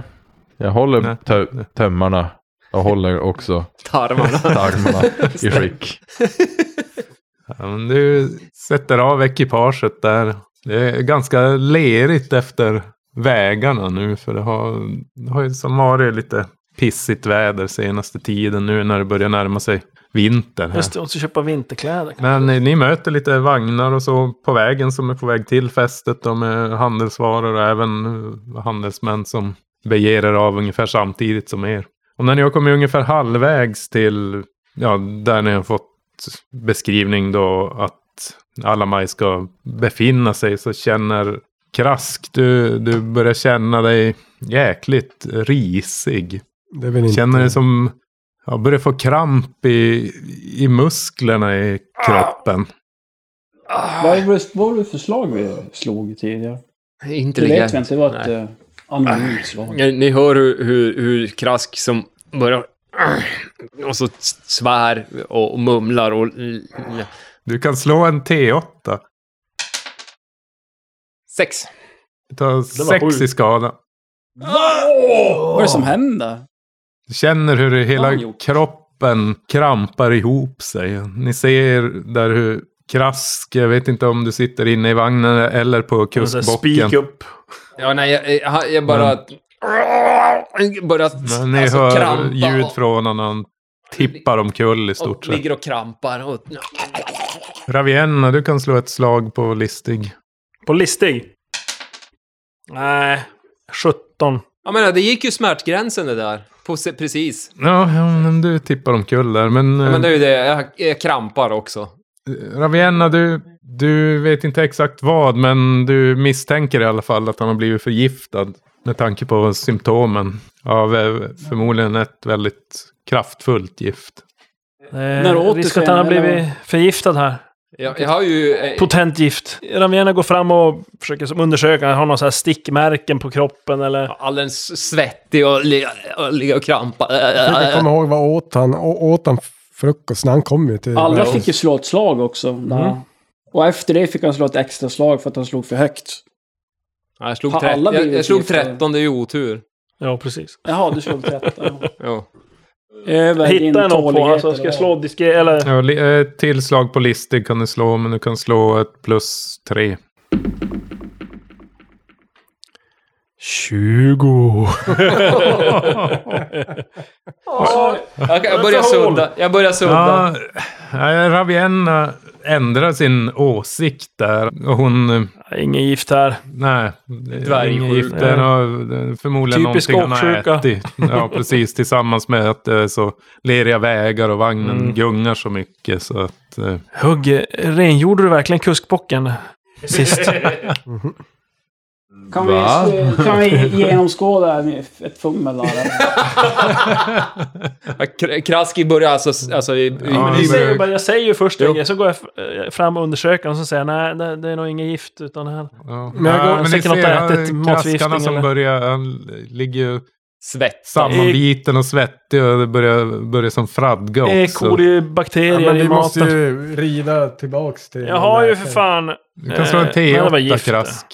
Speaker 7: jag håller
Speaker 2: Nej.
Speaker 7: tö- tömmarna. Jag håller också
Speaker 8: Tarmarna.
Speaker 7: tarmarna i skick.
Speaker 2: Ja, men du sätter av ekipaget där. Det är ganska lerigt efter vägarna nu för det har, det har ju som varit lite pissigt väder senaste tiden nu när det börjar närma sig vinter. Här.
Speaker 5: Just det, och så köpa vinterkläder.
Speaker 2: Men eh, ni möter lite vagnar och så på vägen som är på väg till fästet. De är handelsvaror och även eh, handelsmän som beger er av ungefär samtidigt som er. Och när ni har kommit ungefär halvvägs till, ja, där ni har fått beskrivning då att alla maj ska befinna sig så känner Krask, du, du börjar känna dig jäkligt risig.
Speaker 3: Det är väl inte...
Speaker 2: Känner det som... Jag börjar få kramp i, i musklerna i
Speaker 8: Ah!
Speaker 2: kroppen.
Speaker 4: Vad var det- vad var det för slag vi slog tidigare? Det vet jag
Speaker 8: Intelligent.
Speaker 4: inte. Det var ett eh, anonymt slag.
Speaker 8: Ni ni hör hur, hur, hur Krask som börjar... Och så svär och, och mumlar och...
Speaker 2: Du kan slå en T8.
Speaker 8: Sex.
Speaker 2: Du tar sex i skada.
Speaker 4: Vad är det som händer?
Speaker 2: Du känner hur det
Speaker 8: Vad har
Speaker 2: hela
Speaker 8: han gjort?
Speaker 2: kroppen krampar ihop sig. Ni ser där hur Krask, jag vet inte om du sitter inne i vagnen eller på
Speaker 5: Så här, Speak
Speaker 2: kustbocken.
Speaker 5: up.
Speaker 8: Ja, nej, jag, jag, jag bara... Börjar
Speaker 2: Men ni
Speaker 8: alltså,
Speaker 2: hör
Speaker 8: krampa
Speaker 2: ljud
Speaker 8: och-
Speaker 2: från honom. Han tippar omkull i stort
Speaker 8: och
Speaker 2: sett.
Speaker 8: ligger och krampar. Och...
Speaker 2: Ravienna, du kan slå ett slag på listig.
Speaker 5: På listig. Nej, 17.
Speaker 8: Jag menar, det gick ju smärtgränsen det där. På, se- precis.
Speaker 2: Ja, ja, men du tippar omkull där. Men,
Speaker 8: Ja, men det är ju det, jag, jag krampar också.
Speaker 2: Eh, Ravienna, du, du vet inte exakt vad, men du misstänker i alla fall att han har blivit förgiftad. Med tanke på symptomen av eh, förmodligen ett väldigt kraftfullt gift.
Speaker 4: När
Speaker 5: Eh,
Speaker 4: åter
Speaker 5: risk
Speaker 4: sen,
Speaker 5: att han har
Speaker 4: eller
Speaker 5: blivit förgiftad här.
Speaker 8: Jag, jag har ju... eh,
Speaker 5: Potent gift. Ramjena går fram och försöker som undersöka. Har någon så här stickmärken på kroppen eller?
Speaker 8: alldeles svettig och, li- och ligger och krampar.
Speaker 2: Äh,
Speaker 3: Jag kommer ihåg vad åt han. Å- åt han frukost när han kom ju till...
Speaker 4: Alla fick ju slå ett slag också. där. Och efter det fick han slå ett extra slag för att han slog för högt.
Speaker 8: Ja, jag slog,
Speaker 4: Har
Speaker 8: 13,
Speaker 4: alla
Speaker 8: jag, jag
Speaker 4: blivit
Speaker 8: slog
Speaker 4: förgiftade?
Speaker 8: 13, det är ju otur.
Speaker 5: Ja, precis.
Speaker 4: Jaha, du slog 13.
Speaker 8: Ja.
Speaker 4: Över din
Speaker 5: Hitta något på
Speaker 4: tålighet.
Speaker 5: alltså, Ska jag slå diskret eller?
Speaker 2: Ja, li- eh, ett till slag på listig kan du slå, men du kan slå ett plus tre. 20.
Speaker 8: Jag, jag börjar sudda. Jag börjar sudda.
Speaker 2: Ja, eh, Ravienna ändrar sin åsikt där. Och hon... eh,
Speaker 5: Ingen gift här.
Speaker 2: Nej,
Speaker 8: Dvärgsjuk.
Speaker 2: dvärggiften har eh, förmodligen
Speaker 5: Typisk
Speaker 2: någonting han har
Speaker 5: åksjuka.
Speaker 2: ätit. Ja, precis. Tillsammans med att det är så leriga vägar och vagnen
Speaker 5: Mm.
Speaker 2: gungar så mycket. Så att, eh,
Speaker 5: Hugg, eh, rengjorde du verkligen kuskbocken sist?
Speaker 4: Kan vi,
Speaker 7: Va?
Speaker 4: kan vi genomskåda med ett fummel där? eller?
Speaker 8: Kr- Kraski börjar alltså... alltså i, i,
Speaker 2: Ja,
Speaker 5: jag,
Speaker 2: men-
Speaker 5: säger, ju bara- jag säger ju först
Speaker 8: Jo.
Speaker 5: ingen, så går jag f- eh, fram och undersöker och så säger jag, nej, det, det är nog inget gift utan det här.
Speaker 2: ja.
Speaker 5: Men jag går-
Speaker 2: Ja, ni
Speaker 5: säkert något
Speaker 2: ser,
Speaker 5: har ätit
Speaker 2: han-
Speaker 5: matförgiftning
Speaker 2: Kaskarna som
Speaker 5: eller?
Speaker 2: börjar, han ligger ju
Speaker 8: svett.
Speaker 2: sammanbiten och svettig och det börjar, börjar som fradga
Speaker 5: E.
Speaker 2: också.
Speaker 5: coli-bakterier
Speaker 3: Ja, men
Speaker 5: i
Speaker 3: vi måste
Speaker 5: maten.
Speaker 3: ju rida tillbaks till...
Speaker 5: Jag har ju för fan...
Speaker 2: Du kan slå en
Speaker 5: Eh, men det var
Speaker 2: T8
Speaker 5: gift.
Speaker 2: krask.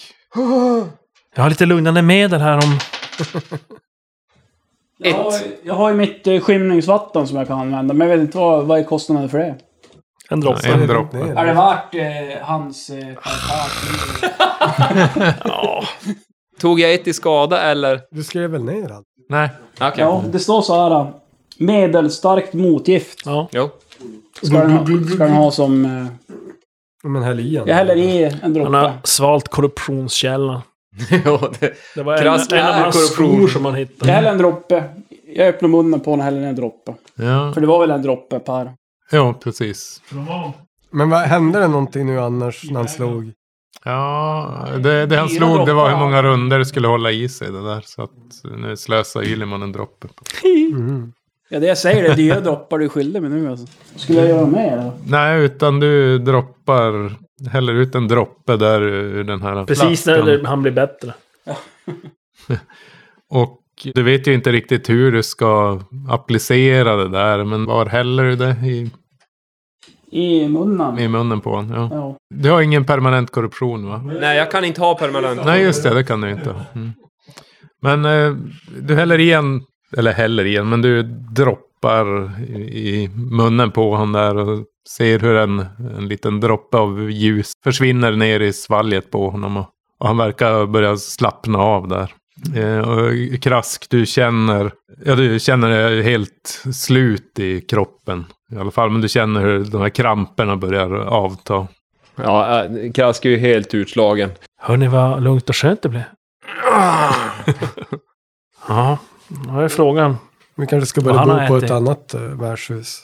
Speaker 5: Jag har lite lugnande medel här om...
Speaker 4: Jag har, jag har ju mitt eh, skymningsvatten som jag kan använda, men jag vet inte vad, vad är kostnaden för det?
Speaker 5: En droppe.
Speaker 2: Ja, en droppe.
Speaker 4: Är det värt eh, hans eh, karaktär?
Speaker 8: Tog jag ett i skada eller?
Speaker 3: Du skrev väl ner allt?
Speaker 2: Nej.
Speaker 8: Okej.
Speaker 4: Ja, det står så här. Medelstarkt motgift
Speaker 5: Ja.
Speaker 8: Jo.
Speaker 4: ska den, ha- ska den ha som... eh,
Speaker 3: Men häll i
Speaker 4: Jag häller i en
Speaker 5: Han
Speaker 4: droppe.
Speaker 5: har svalt korruptionskällan.
Speaker 8: jo det,
Speaker 5: Det var en,
Speaker 8: Krask
Speaker 5: en av
Speaker 8: är
Speaker 5: hans
Speaker 8: korruption.
Speaker 5: skor som han
Speaker 4: Jag
Speaker 5: hittade.
Speaker 4: häller en droppe. Jag öppnar munnen på den och häller en droppe.
Speaker 2: Ja.
Speaker 4: För det var väl en droppe per.
Speaker 2: ja, precis.
Speaker 3: Men vad hände det någonting nu annars när han slog?
Speaker 2: Ja, det, det han
Speaker 1: Fyra
Speaker 2: slog det var hur
Speaker 1: droppar.
Speaker 2: många runder det skulle hålla i sig det där. Så att nu slösar Ylimon en droppe. på-
Speaker 5: Mm.
Speaker 4: Ja, det jag säger det är dyra droppar du skyllde mig nu alltså. Skulle jag göra dem med eller?
Speaker 2: Nej, utan du droppar, häller ut en droppe där ur den här
Speaker 5: Precis när
Speaker 2: flaskan.
Speaker 5: det- han blir bättre.
Speaker 2: Och du vet ju inte riktigt hur du ska applicera det där. Men var häller du det i,
Speaker 4: I munnen?
Speaker 2: i munnen på honom? Ja.
Speaker 4: Ja.
Speaker 2: Du har ingen permanent korruption va?
Speaker 8: Nej, jag kan inte ha permanent.
Speaker 2: Nej, just det. Det kan du inte. Mm. Men eh, du häller igen, eller häller igen, men du droppar i, i munnen på honom där och ser hur en, en liten droppe av ljus försvinner ner i svalget på honom. Och, och han verkar börja slappna av där. Eh, och krask, du känner, ja du känner dig helt slut i kroppen. I alla fall, men du känner hur de här kramperna börjar avta.
Speaker 8: Ja, eh, Krask är ju helt utslagen.
Speaker 5: Hör ni vad lugnt och skönt det blev? ja, då är frågan.
Speaker 3: Vi kanske ska
Speaker 5: Och
Speaker 3: börja
Speaker 5: han har
Speaker 3: bo på
Speaker 5: ätit.
Speaker 3: ett annat eh, värdshus.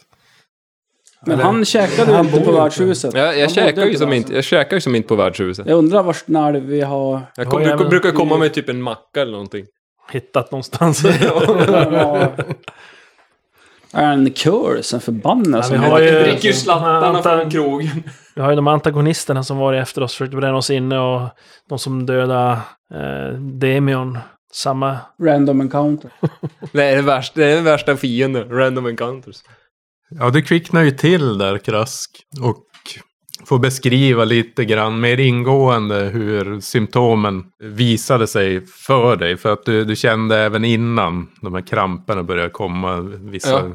Speaker 4: Men
Speaker 3: Eller-
Speaker 4: han käkade ju
Speaker 3: Han
Speaker 4: inte
Speaker 3: bor ju
Speaker 4: på
Speaker 3: inte.
Speaker 4: värdshuset.
Speaker 8: Jag,
Speaker 4: Han
Speaker 8: jag,
Speaker 4: bodde
Speaker 8: käkar ju
Speaker 4: inte
Speaker 8: som
Speaker 4: där,
Speaker 8: inte, jag käkar ju som inte på värdshuset.
Speaker 4: Jag undrar vart när vi har...
Speaker 8: Jag kom,
Speaker 5: Ja,
Speaker 8: brukar,
Speaker 5: jävlar.
Speaker 8: brukar komma med typ en macka eller någonting.
Speaker 5: Hittat någonstans.
Speaker 4: har- Är en kör sen förbannelse?
Speaker 5: Ja, vi har ju-
Speaker 8: Jag dricker ju
Speaker 5: Han
Speaker 8: slattarna
Speaker 5: antar-
Speaker 8: från krogen.
Speaker 5: Vi har ju de antagonisterna som varit efter oss, försökte bränna oss inne och de som dödade eh, Demion. Samma.
Speaker 4: Random encounter.
Speaker 8: Det är, det, värsta, det är den värsta fienden, random encounters.
Speaker 2: Ja, du kvicknar ju till där Krask och får beskriva lite grann mer ingående hur symptomen visade sig för dig. För att du, du kände även innan de här kramperna började komma, vissa
Speaker 8: Ja.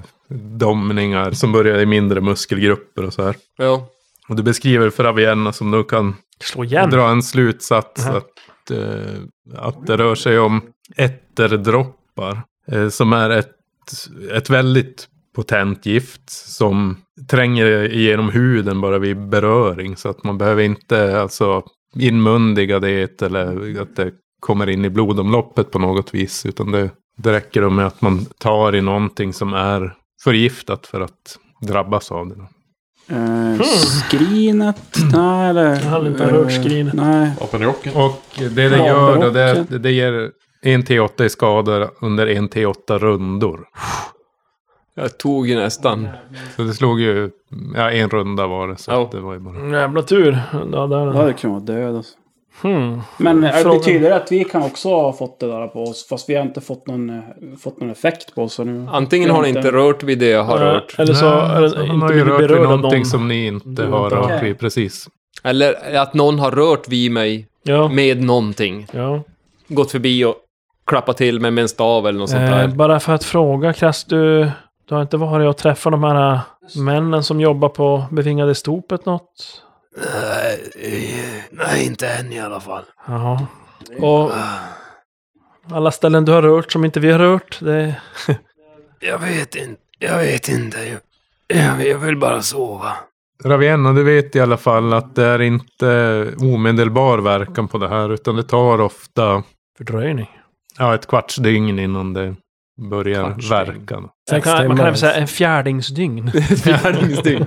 Speaker 2: domningar som började i mindre muskelgrupper och så här.
Speaker 8: Ja.
Speaker 2: Och du beskriver för Avienna som du kan
Speaker 5: Slå igen.
Speaker 2: dra en slutsats att, eh, att det rör sig om etterdroppar. Eh, som är ett, ett väldigt potent gift som tränger igenom huden bara vid beröring. Så att man behöver inte alltså, inmundiga det eller att det kommer in i blodomloppet på något vis. Utan det, det räcker då med att man tar i någonting som är förgiftat för att drabbas av det. då.
Speaker 4: Eh, skrinet? Nej, eller...
Speaker 5: Jag hade inte hört
Speaker 4: Eh,
Speaker 5: skrinet.
Speaker 4: Nej.
Speaker 7: Apenrocken.
Speaker 2: Och det det
Speaker 4: Ja,
Speaker 2: gör då,
Speaker 4: bra.
Speaker 2: det, är- det ger en T8 i skador under en T8 rundor.
Speaker 8: Jag tog ju nästan.
Speaker 2: Så det slog ju, ja en runda var det. Så
Speaker 8: Ja.
Speaker 2: att det var ju bara...
Speaker 5: Jävla tur. Ja, där. är
Speaker 4: Då hade
Speaker 5: den.
Speaker 4: jag kunnat vara död alltså.
Speaker 5: Hmm.
Speaker 4: Men är det
Speaker 5: Frågan-
Speaker 4: betyder det att vi kan också ha fått det där på oss? Fast vi har inte fått någon, eh, fått någon effekt på oss ännu.
Speaker 8: Antingen har ni inte rört vid det jag har
Speaker 5: Eh,
Speaker 8: rört.
Speaker 5: Eller så
Speaker 2: Nej,
Speaker 5: är
Speaker 2: så
Speaker 5: den
Speaker 2: han
Speaker 5: inte
Speaker 2: har ju
Speaker 5: blivit
Speaker 2: rört vid
Speaker 5: berörd av Mm.
Speaker 2: någonting
Speaker 5: någon.
Speaker 2: som ni inte
Speaker 5: Du
Speaker 2: har
Speaker 5: inte har.
Speaker 2: rört vid, precis.
Speaker 8: Eller att någon har rört vid mig
Speaker 5: Ja.
Speaker 8: med någonting.
Speaker 5: ja.
Speaker 8: Gått förbi och klappat till mig med en stav eller något sånt
Speaker 5: Eh,
Speaker 8: där.
Speaker 5: bara för att fråga Krass, du, du har inte varit och träffat de här eh, männen som jobbar på bevingade stopet något?
Speaker 9: Eh,
Speaker 6: Nej, inte än i alla fall.
Speaker 5: Jaha. Och alla ställen du har rört som inte vi har rört, det...
Speaker 6: Jag vet inte. Jag vet inte. Jag, jag vill bara sova.
Speaker 2: Ravienna, du vet i alla fall att det är inte omedelbar verkan på det här. Utan det tar ofta
Speaker 5: Fördröjning.
Speaker 2: ja, ett kvarts dygn innan det börjar
Speaker 8: Kvartsdygn.
Speaker 2: verka. då.
Speaker 5: Man
Speaker 3: Sex
Speaker 5: kan, man kan
Speaker 3: timmar.
Speaker 5: även säga en fjärdingsdygn.
Speaker 8: Fjärdingsdygn.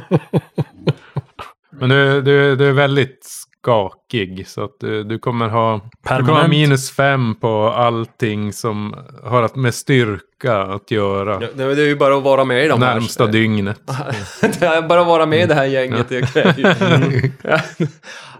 Speaker 2: Men du, du, du är väldigt skakig. Så att du, du kommer ha Du kommer ha
Speaker 5: Permanent.
Speaker 2: minus fem på allting som har att med styrka att göra.
Speaker 8: Ja, nej, men det är ju bara att vara med i de här.
Speaker 2: Närmsta dygnet.
Speaker 8: Det är bara att vara med i det här gänget. Jag kräver ju. Ja.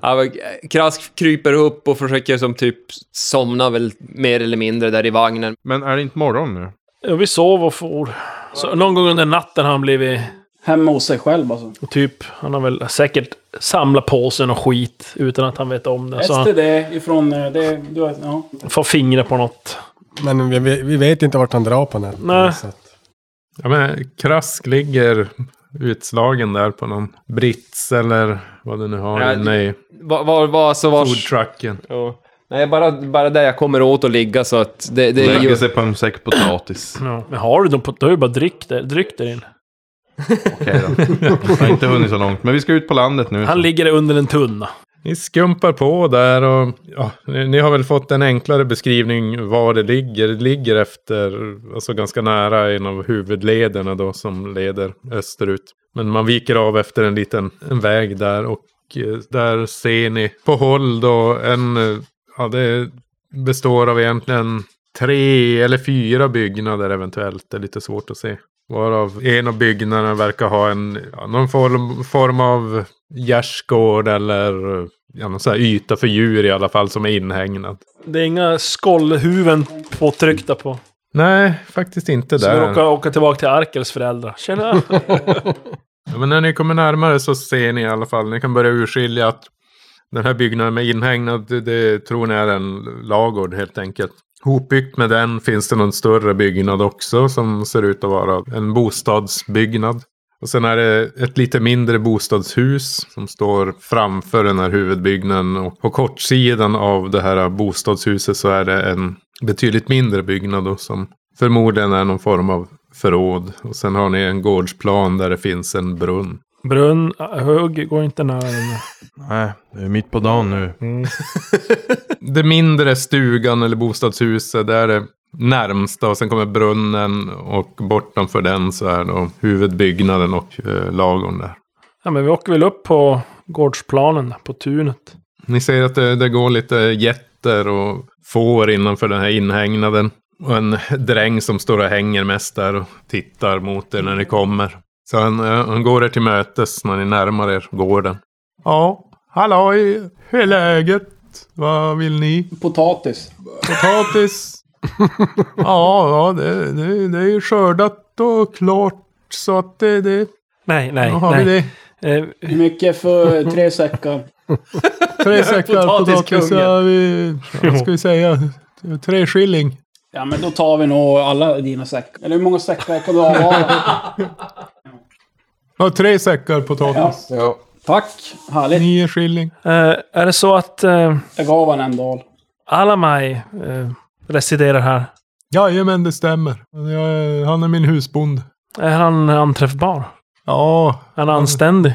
Speaker 8: ja, men eh, Krask kryper upp och försöker som typ somna väl mer eller mindre där i vagnen.
Speaker 7: Men är det inte morgon nu?
Speaker 5: Ja, vi sov och for. Så någon gång under natten har han blivit...
Speaker 4: Hemma hos sig själv alltså.
Speaker 5: och Typ, han har väl säkert samlat på sig någon skit utan att han vet om det. Så han
Speaker 4: STD ifrån... eh, Det, du vet, ja.
Speaker 5: får fingra på något. Eh,
Speaker 3: Men vi, vi, vi vet inte vart han drar på nätet.
Speaker 5: Nej.
Speaker 3: Så att,
Speaker 2: Ja, men Krask ligger utslagen där på någon brits eller vad du nu har
Speaker 8: Ja,
Speaker 2: inne i
Speaker 8: Var, var, var, så vars...
Speaker 2: foodtrucken.
Speaker 8: Ja. Nej, bara, bara där jag kommer åt att ligga så att det, det är
Speaker 7: Lägger
Speaker 8: ju...
Speaker 7: sig på en säck potatis.
Speaker 5: Ja. Men har du dem på... Då är det bara dryck där, dryck där in.
Speaker 7: Okej då. Jag har inte hunnit så långt. Men vi ska ut på landet nu.
Speaker 5: Han
Speaker 7: så.
Speaker 5: ligger där under en tunna.
Speaker 2: Ni skumpar på där och ja, ni, ni har väl fått en enklare beskrivning var det ligger. Det ligger efter, alltså ganska nära en av huvudlederna då som leder österut. Men man viker av efter en liten en väg där och eh, där ser ni på håll då en, eh, ja det består av egentligen tre eller fyra byggnader eventuellt. Det är lite svårt att se. Varav en av byggnaderna verkar ha en, ja, någon form, form av gärdsgård eller eh, ja, någon sån här yta för djur i alla fall som är inhägnad.
Speaker 5: Det är inga skållhuvuden påtryckta på.
Speaker 2: Nej, faktiskt inte
Speaker 5: Så vi
Speaker 2: där.
Speaker 5: råkar åka tillbaka till Arkels föräldrar. Tjena!
Speaker 2: Ja, men när ni kommer närmare så ser ni i alla fall, ni kan börja urskilja att den här byggnaden med inhägnad, det, det tror ni är en lagård helt enkelt. Hopbyggt med den finns det någon större byggnad också som ser ut att vara en bostadsbyggnad. Och sen är det ett lite mindre bostadshus som står framför den här huvudbyggnaden. Och på kortsidan av det här bostadshuset så är det en betydligt mindre byggnad då, som förmodligen är någon form av förråd. Och sen har ni en gårdsplan där det finns en brunn.
Speaker 5: Brunn, hög, gå inte nära den.
Speaker 7: Nej, det är mitt på dagen nu.
Speaker 2: Det mindre stugan eller bostadshuset, det är det närmsta. Och sen kommer brunnen och bortanför den så är då huvudbyggnaden och eh, lagorn där.
Speaker 5: Ja, men vi åker väl upp på gårdsplanen, där, på tunet.
Speaker 2: Ni ser att det, det går lite getter och får innanför den här inhägnaden. Och en dräng som står och hänger mest där och tittar mot er när ni kommer. Så han, eh, han går er till mötes när ni närmar er gården. Ja, halloj, hur är läget? Vad vill ni?
Speaker 4: Potatis.
Speaker 2: Potatis? ja, ja det, det, det är ju skördat och klart. Så att det, det
Speaker 5: Nej,
Speaker 2: nu
Speaker 5: nej,
Speaker 2: har vi
Speaker 5: nej.
Speaker 2: det.
Speaker 5: Eh,
Speaker 4: Hur mycket för tre säckar?
Speaker 2: Tre säckar potatis. Ja, vi, vad ska vi säga? Tre skilling.
Speaker 4: Ja, men då tar vi nog alla dina säckar. Eller hur många säckar kan du avvara?
Speaker 2: Ja, tre säckar potatis.
Speaker 1: Ja.
Speaker 4: Tack! Härligt.
Speaker 2: Nio skilling.
Speaker 5: eh, är det så att eh,
Speaker 4: Jag gav han en dal.
Speaker 5: Alamaj eh, residerar här?
Speaker 2: Jajamän, det stämmer. Jag, är- han är min husbond.
Speaker 5: Är han anträffbar?
Speaker 2: Ja,
Speaker 5: Är han anständig?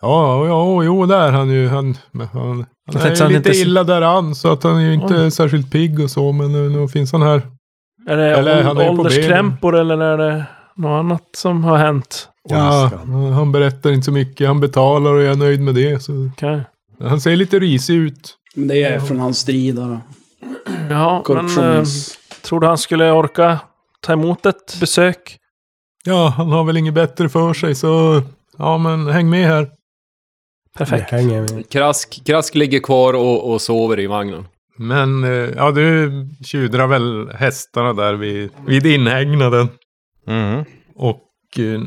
Speaker 2: ja, ja, jo, det är han ju. Han, men han, han
Speaker 5: tänkte så
Speaker 2: är
Speaker 5: han
Speaker 2: lite
Speaker 5: inte-
Speaker 2: illa däran, så att han är ju inte
Speaker 5: Oj.
Speaker 2: särskilt pigg och så, men nu, nu finns han här.
Speaker 5: Är det
Speaker 2: Eller han är på
Speaker 5: ålderskrämpor eller är det något annat som har hänt?
Speaker 2: Ja, han berättar inte så mycket. Han betalar och jag är nöjd med det. Så.
Speaker 5: Okej.
Speaker 2: Han ser lite risig ut.
Speaker 4: Men det är från hans strider och
Speaker 5: Ja, men eh,
Speaker 4: korruptions...
Speaker 5: tror du han skulle orka ta emot ett besök?
Speaker 2: Ja, han har väl inget bättre för sig, så ja, men häng med här.
Speaker 3: Det
Speaker 5: Perfekt.
Speaker 3: hänger vi.
Speaker 8: Krask, krask ligger kvar och, och sover i vagnen.
Speaker 2: Men eh, ja, du tjudrar väl hästarna där vid, vid inhägnaden.
Speaker 7: Mm.
Speaker 2: Och eh,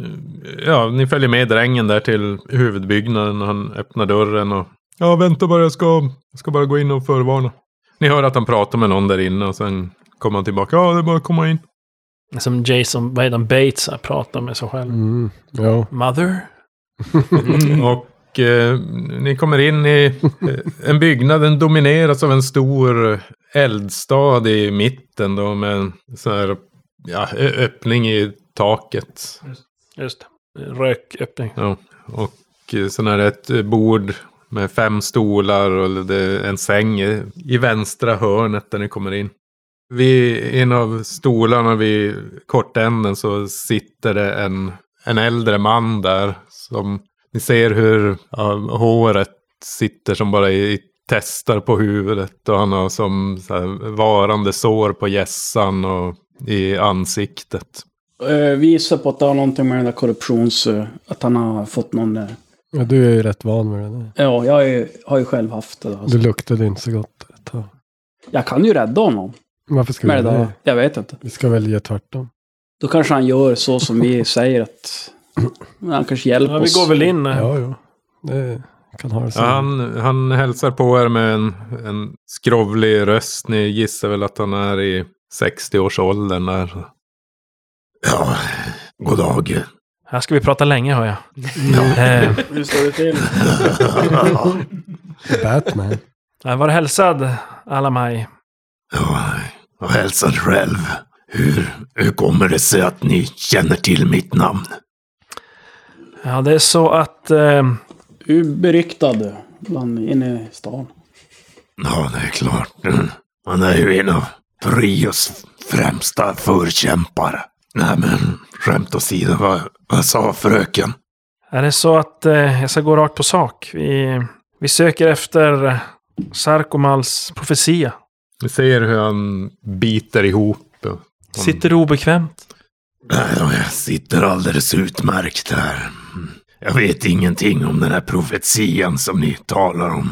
Speaker 2: ja, ni följer med drängen där till huvudbyggnaden. och Han öppnar dörren och... Ja, vänta bara, jag ska, jag ska bara gå in och förvarna. Ni hör att han pratar med någon där inne och sen kommer han tillbaka. Ja, det är bara att komma in.
Speaker 5: Som Jason, vad heter han, Bates här, pratar med sig själv.
Speaker 3: Mm, ja.
Speaker 5: Mother?
Speaker 2: Och eh, ni kommer in i eh, en byggnad. Den domineras av en stor eldstad i mitten då med en sån här ja, ö- öppning i taket.
Speaker 5: Just det. Rököppning.
Speaker 2: Ja, och eh, sen är det ett eh, bord med fem stolar och det är en säng i i vänstra hörnet där ni kommer in. Vid en av stolarna vid kortänden så sitter det en, en äldre man där. Som ni ser hur ja, håret sitter som bara i, i testar på huvudet. Och han har som så här, varande sår på hjässan och i ansiktet.
Speaker 4: Eh, Vi gissar på att det har någonting med den där korruptions... eh, Att han har fått någon... eh,
Speaker 3: ja, du är ju rätt van vid det där.
Speaker 4: Ja, jag har ju, har ju själv haft det. där, Alltså.
Speaker 3: Du luktade inte så gott ett tag.
Speaker 4: Jag kan ju rädda honom
Speaker 3: Varför ska vi
Speaker 4: med det
Speaker 3: göra
Speaker 4: där.
Speaker 3: det?
Speaker 4: Jag vet inte.
Speaker 3: Vi ska välja tvärtom.
Speaker 4: Då kanske han gör så som vi säger att... Men Han kanske hjälper
Speaker 5: Ja, vi
Speaker 4: oss.
Speaker 5: går väl in. eh.
Speaker 3: Ja, ja. Det kan ha det så.
Speaker 2: Ja, han, han hälsar på er med en, en skrovlig röst. Ni gissar väl att han är i 60-årsåldern där. Ja, god dag.
Speaker 5: Här ska vi prata länge, hör jag. eh,
Speaker 4: Hur står det till?
Speaker 3: Batman.
Speaker 5: jag var hälsad, Alamaj.
Speaker 9: Och hälsar själv. Hur, hur kommer det sig att ni känner till mitt namn?
Speaker 5: Ja, det är så att... Eh,
Speaker 4: Du är beryktad bland, inne i stan.
Speaker 9: Ja, det är klart. Han är ju en av Prios främsta förkämpar. Nej men, skämt åsido, vad, vad sa fröken?
Speaker 5: Är det så att eh, jag ska gå rakt på sak? Vi, vi söker efter Sarkomals profetia.
Speaker 3: Mm.
Speaker 2: Vi ser hur han biter ihop. och-
Speaker 5: Sitter du obekvämt?
Speaker 9: Nej, då, Jag sitter alldeles utmärkt här. Jag vet ingenting om den här profetian som ni talar om.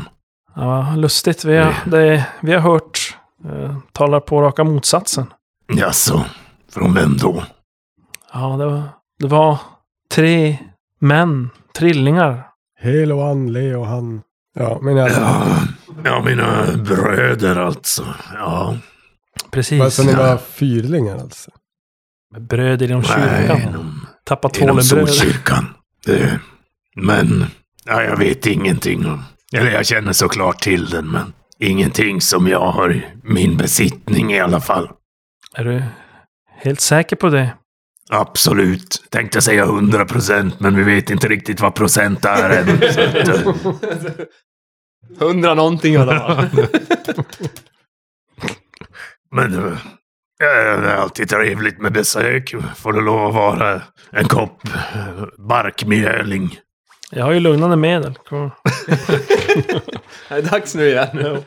Speaker 5: Ja, lustigt. Vi har,
Speaker 3: Mm.
Speaker 5: det, vi har hört eh, talar på raka motsatsen.
Speaker 9: Jaså, från vem då?
Speaker 5: Ja, det var, det var tre män, trillingar.
Speaker 3: Helo, han, Leo, han. Ja, men jag...
Speaker 9: Ja, ja, mina bröder alltså. Ja,
Speaker 3: Men
Speaker 5: Precis.
Speaker 3: så ni var fyrlingar alltså?
Speaker 5: Med bröd inom
Speaker 9: nej,
Speaker 5: kyrkan.
Speaker 9: inom,
Speaker 5: Tappat
Speaker 9: inom
Speaker 5: tvålenbröd.
Speaker 9: Solkyrkan. Det, men, ja, jag vet ingenting om... Eller jag känner såklart till den, men ingenting som jag har i min besittning i alla fall.
Speaker 5: Är du helt säker på det?
Speaker 9: Absolut. Tänkte säga 100 procent, men vi vet inte riktigt vad procent är än. så att, eh,
Speaker 8: Hundra någonting i alla fall.
Speaker 9: Men eh, eh, det är alltid trevligt med besök. Får det lov att vara en kopp eh, barkmjöling?
Speaker 5: Jag har ju lugnande medel. Kom.
Speaker 8: det är dags nu igen.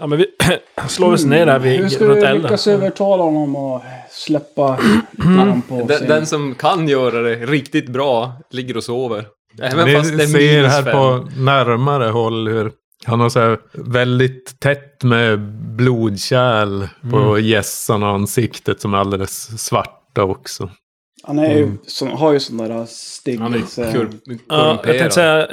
Speaker 5: Ja, men vi slår oss ner där
Speaker 4: Hur
Speaker 5: vid
Speaker 4: ska
Speaker 5: runt
Speaker 4: du lyckas
Speaker 5: elden.
Speaker 4: övertala honom att släppa
Speaker 5: Mm.
Speaker 4: namn på
Speaker 8: Den,
Speaker 4: scenen?
Speaker 8: den som kan göra det riktigt bra ligger och sover. Även
Speaker 2: Ni
Speaker 8: fast det är
Speaker 2: ser
Speaker 8: minus
Speaker 2: här
Speaker 8: fem.
Speaker 2: på närmare håll hur han har så här väldigt tätt med blodkärl
Speaker 8: Mm.
Speaker 2: på gässan och ansiktet som är alldeles svarta också.
Speaker 4: Han är ju, som, har ju sån där stig. alltså.
Speaker 8: Han är
Speaker 4: så-
Speaker 8: kur-
Speaker 5: Mm. Ja, jag tänkte
Speaker 8: korrumperad.
Speaker 5: säga,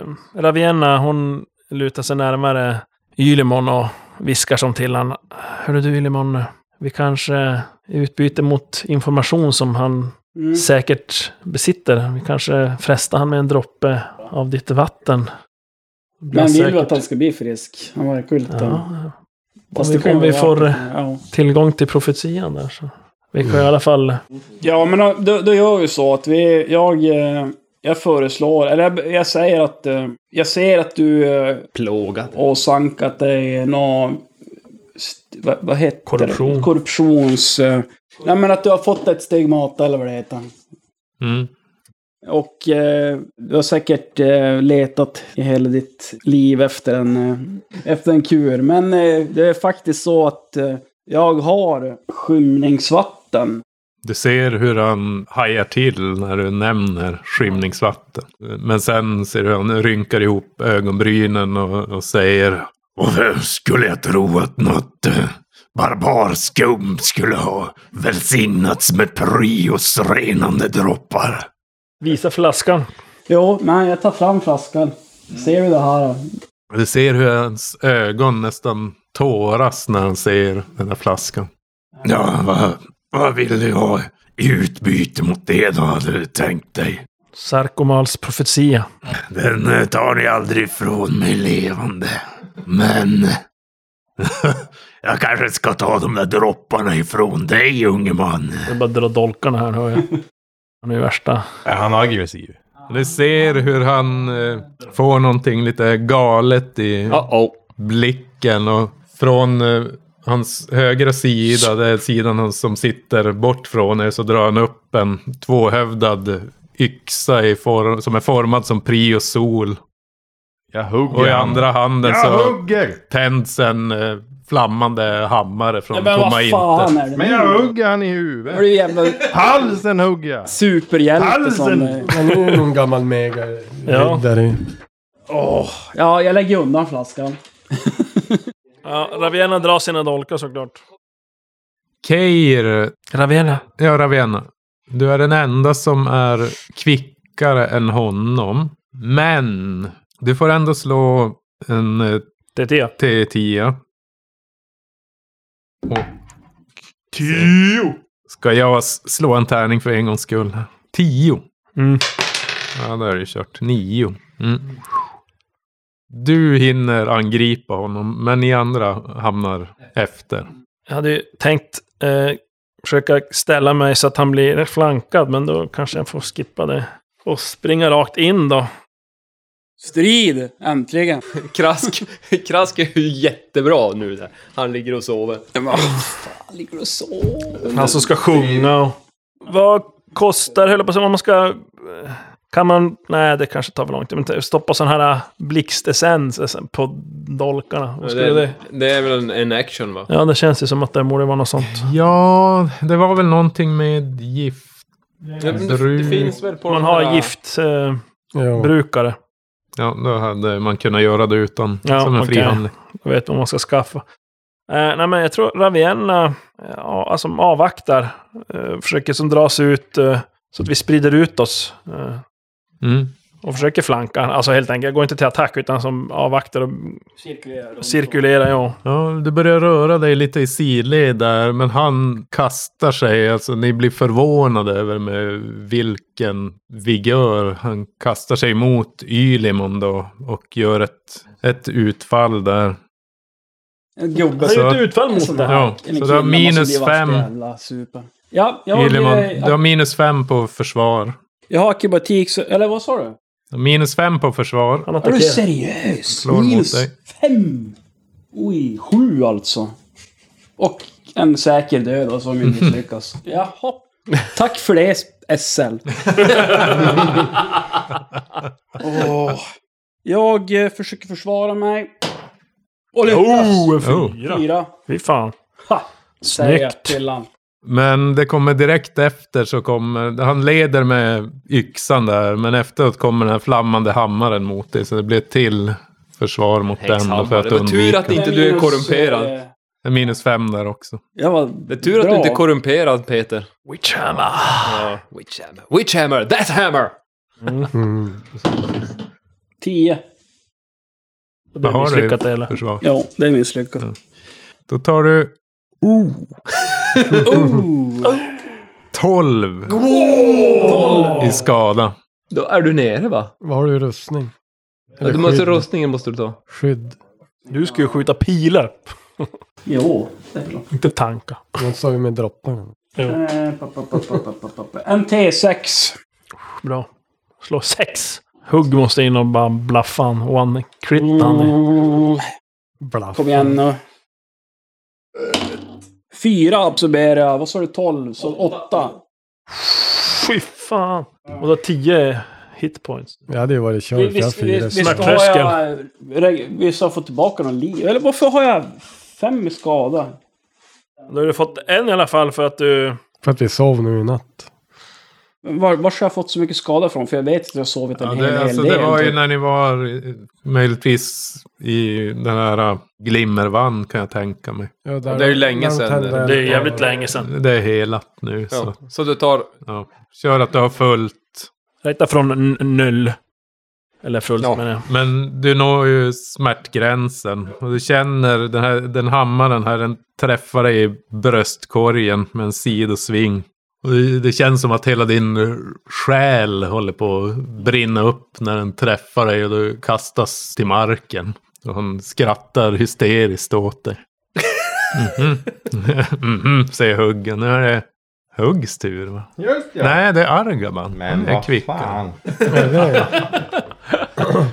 Speaker 5: eh, Ravienna hon lutar sig närmare Ylimon och viskar som till han. Hörru du Ylimon, vi kanske i utbyte mot information som han
Speaker 4: Mm.
Speaker 5: säkert besitter. Vi kanske frestar han med en droppe av ditt vatten. Det blir
Speaker 4: Men vill
Speaker 5: säkert-
Speaker 4: du att han ska bli frisk? Han verkar ju lite...
Speaker 5: Ja,
Speaker 4: Fast
Speaker 5: Om vi-
Speaker 4: det kan
Speaker 5: om vi
Speaker 4: vara-
Speaker 5: får-
Speaker 4: Ja.
Speaker 5: tillgång till profetian där så. Vi kan i alla fall...
Speaker 4: Ja, men då- då, då gör vi så att vi, jag, eh, jag föreslår, eller jag, jag säger att, eh, jag ser att du eh,
Speaker 8: Plågad.
Speaker 4: åsamkat dig någon, st- vad, vad heter det?
Speaker 5: Korruption.
Speaker 4: Korruptions... eh, Nej, men att du har fått ett stigmata eller vad det heter.
Speaker 2: Mm.
Speaker 4: Och eh, du har säkert eh, letat i hela ditt liv efter en, eh, efter en kur. Men eh, det är faktiskt så att eh, jag har skymningsvatten.
Speaker 2: Du ser hur han hajar till när du nämner skymningsvatten. Men sen ser du hur han rynkar ihop ögonbrynen och, och säger
Speaker 9: Och vem skulle jag tro att något eh, barbarskum skulle ha välsignats med prios renande droppar?
Speaker 5: Visa flaskan.
Speaker 4: Jo, men jag tar fram flaskan. Ser du det här? då?
Speaker 2: Du ser hur hans ögon nästan tåras när han ser den här flaskan.
Speaker 9: Ja, vad, vad vill du ha i utbyte mot det då, hade du tänkt dig?
Speaker 5: Sarkomals profetia.
Speaker 9: Den eh, tar ni aldrig ifrån mig levande. Men... jag kanske ska ta de där dropparna ifrån dig, unge man.
Speaker 5: Jag bara drar dolkarna här hör jag. Han är ju värsta.
Speaker 7: Är han aggressiv?
Speaker 2: Du ser hur han eh, får någonting lite galet i
Speaker 8: Uh-oh.
Speaker 2: blicken och från eh, hans högra sida, det är sidan han som sitter bort från er, så drar han upp en tvåhövdad yxa i form, som är formad som prios sol.
Speaker 7: Jag hugger
Speaker 2: Och i
Speaker 7: han.
Speaker 2: andra handen
Speaker 7: Jag
Speaker 2: så
Speaker 7: hugger!
Speaker 2: tänds en eh, flammande hammare från
Speaker 4: Men
Speaker 2: tomma
Speaker 4: vad fan
Speaker 2: intet.
Speaker 4: är det
Speaker 7: Men jag hugger han i huvudet.
Speaker 4: Är du jävla
Speaker 7: Halsen hugger jag!
Speaker 4: superhjälte som...
Speaker 7: Halsen!
Speaker 4: eh,
Speaker 3: Han är ju någon gammal mega
Speaker 5: Ja.
Speaker 3: där i.
Speaker 4: Åh, ja, jag lägger undan flaskan.
Speaker 5: Ja, Ravienna drar sina dolkar såklart.
Speaker 2: Keir,
Speaker 5: Ravienna.
Speaker 2: ja Ravena, du är den enda som är kvickare än honom. Men du får ändå slå en eh,
Speaker 5: Det är det.
Speaker 2: T10. Och... Tio! Ska jag s- slå en tärning för en gångs skull? Tio.
Speaker 5: Mm.
Speaker 2: Ja, där är det kört. Nio. Mm. Du hinner angripa honom, men ni andra hamnar efter.
Speaker 5: Jag hade ju tänkt eh, försöka ställa mig så att han blir flankad, men då kanske jag får skippa det. Och springa rakt in då.
Speaker 4: Strid! Äntligen!
Speaker 8: Krask, Krask är ju jättebra nu där. Han ligger och sover.
Speaker 4: Fan, ligger och sover.
Speaker 5: Han som ska sjunga och... Vad kostar, höll jag på att säga, om man ska... eh, Kan man... Nej, det kanske tar för lång tid. Men stoppa sån här eh, blixtessens på dolkarna. Vad skulle det...
Speaker 8: Det, det är väl en, en action va?
Speaker 5: Ja, det känns ju som att det borde vara något sånt.
Speaker 2: Ja, det var väl någonting med gift.
Speaker 8: Det, det, det finns väl på
Speaker 5: Man
Speaker 8: de
Speaker 5: har eh,
Speaker 8: här-
Speaker 5: giftbrukare.
Speaker 3: Jo.
Speaker 2: Ja, då hade man kunnat göra det utan
Speaker 5: Ja,
Speaker 2: som en
Speaker 5: okej.
Speaker 2: frihandling.
Speaker 5: Jag vet vad man ska skaffa. Eh, nej, men jag tror Ravienna ja, alltså, avvaktar. Eh, försöker som dras ut eh, så att vi sprider ut oss. Eh,
Speaker 2: Mm.
Speaker 5: och försöker flanka. Alltså helt enkelt, jag går inte till attack utan som avvaktar och
Speaker 4: Cirkulera.
Speaker 5: cirkulerar. Ja.
Speaker 2: Ja, du börjar röra dig lite i sidled där, men han kastar sig. Alltså, ni blir förvånade över med vilken vigör han kastar sig mot Ylimon då och gör ett, ett utfall där.
Speaker 4: En gubbe
Speaker 5: Det
Speaker 4: som...
Speaker 5: är ju
Speaker 2: Så-
Speaker 5: ett utfall mot det här.
Speaker 2: Ja,
Speaker 4: en
Speaker 2: så du har
Speaker 4: kille måste bli
Speaker 2: minus
Speaker 4: vars
Speaker 2: fem,
Speaker 4: jävla super. Ja, jag,
Speaker 2: Ylimon.
Speaker 4: eh,
Speaker 2: Du har minus fem på försvar.
Speaker 4: jag har akrobatik, så, eller vad sa du?
Speaker 2: Minus fem på försvar.
Speaker 5: Han
Speaker 4: Är du
Speaker 5: attackerar.
Speaker 4: seriös?
Speaker 2: Slår mot
Speaker 4: Minus
Speaker 2: dig.
Speaker 4: fem! Oj, sju alltså. Och en säker död och som inte misslyckas. Jaha. Tack för det, SL. Åh. Jag eh, försöker försvara mig. Och lyckas!
Speaker 5: Oh, en
Speaker 2: Oh.
Speaker 5: fyra!
Speaker 4: Fyra.
Speaker 5: Fy fan.
Speaker 4: Ha! Säger jag
Speaker 5: Snyggt.
Speaker 4: till han.
Speaker 2: Men det kommer direkt efter så kommer... Han leder med yxan där, men efteråt kommer den här flammande hammaren mot dig. Så det blir ett till försvar mot den. då För
Speaker 8: Häxhammare.
Speaker 2: att
Speaker 8: Det var tur
Speaker 2: undvika.
Speaker 8: att inte du är
Speaker 4: Minus,
Speaker 8: korrumperad.
Speaker 4: eh,
Speaker 2: Det är minus fem där också.
Speaker 4: Jag var
Speaker 8: Det är tur att
Speaker 4: bra.
Speaker 8: du inte är korrumperad Peter.
Speaker 5: Witchhammer.
Speaker 8: Ja. Witchhammer. Witchhammer! That hammer!
Speaker 3: Mm.
Speaker 4: Tio.
Speaker 5: Det
Speaker 2: Vad
Speaker 5: är
Speaker 2: har du i
Speaker 5: misslyckat det eller?
Speaker 2: Försvar.
Speaker 4: Ja, det är misslyckat.
Speaker 2: Då tar du
Speaker 4: Oh.
Speaker 2: 12 i skada.
Speaker 8: Då är du nere va?
Speaker 3: Vad har du i rustning?
Speaker 8: Ja, du måste, rustningen måste du ta.
Speaker 3: Skydd.
Speaker 5: Du ska ju skjuta pilar.
Speaker 4: Jo, det är klart.
Speaker 5: Inte tanka.
Speaker 3: Man sa ju med dropparna.
Speaker 4: Eh, pa, pa, pa, pa, pa, pa, pa, pa. En T6.
Speaker 5: Bra. Slå sex. Hugg måste in och bara blaffa han. One crit han.
Speaker 4: Mm.
Speaker 3: Bluff.
Speaker 4: Kom igen nu. Fyra absorberar jag. Vad sa du? Tolv? Så åtta.
Speaker 5: Fy fan. Och då 10 hitpoints.
Speaker 3: Jag hade ju varit körd för jag har fyra.
Speaker 4: visst har jag...
Speaker 5: Smärttröskel.
Speaker 4: reg- Visst har jag fått tillbaka någon liv? Eller varför har jag fem i skada?
Speaker 5: Då har du fått en i alla fall för att du...
Speaker 3: För att vi sov nu i natt.
Speaker 4: Var, var har jag fått så mycket skada från? För jag vet att jag har sovit en
Speaker 2: Ja,
Speaker 4: hel
Speaker 2: det, alltså,
Speaker 4: del.
Speaker 2: det var ju
Speaker 4: typ.
Speaker 2: när ni var eh, möjligtvis i den här eh, Glimmervann kan jag tänka mig.
Speaker 3: Ja, där-
Speaker 8: Det är ju länge
Speaker 3: där
Speaker 8: sedan.
Speaker 3: tände jag
Speaker 5: Det är
Speaker 3: elden.
Speaker 5: jävligt länge sedan.
Speaker 2: Det är helat nu. Så,
Speaker 8: Ja. Så du tar...
Speaker 2: ja. Kör att du har fullt.
Speaker 5: Räkna från n- noll. Eller fullt eh, menar jag.
Speaker 2: Men du når ju smärtgränsen. Och du känner den här den hammaren här. Den träffar dig i bröstkorgen med en sidosving. Och det det känns som att hela din själ håller på att brinna upp när den träffar dig och du kastas till marken. Och han skrattar hysteriskt åt dig. Mhm. Mhm, säger huggen. Nu är det Huggs tur va?
Speaker 7: Just ja.
Speaker 2: Nej, det är Argaban.
Speaker 7: Men
Speaker 2: han är
Speaker 7: vad
Speaker 2: kvickare.
Speaker 7: fan.
Speaker 3: Ja, det är jag.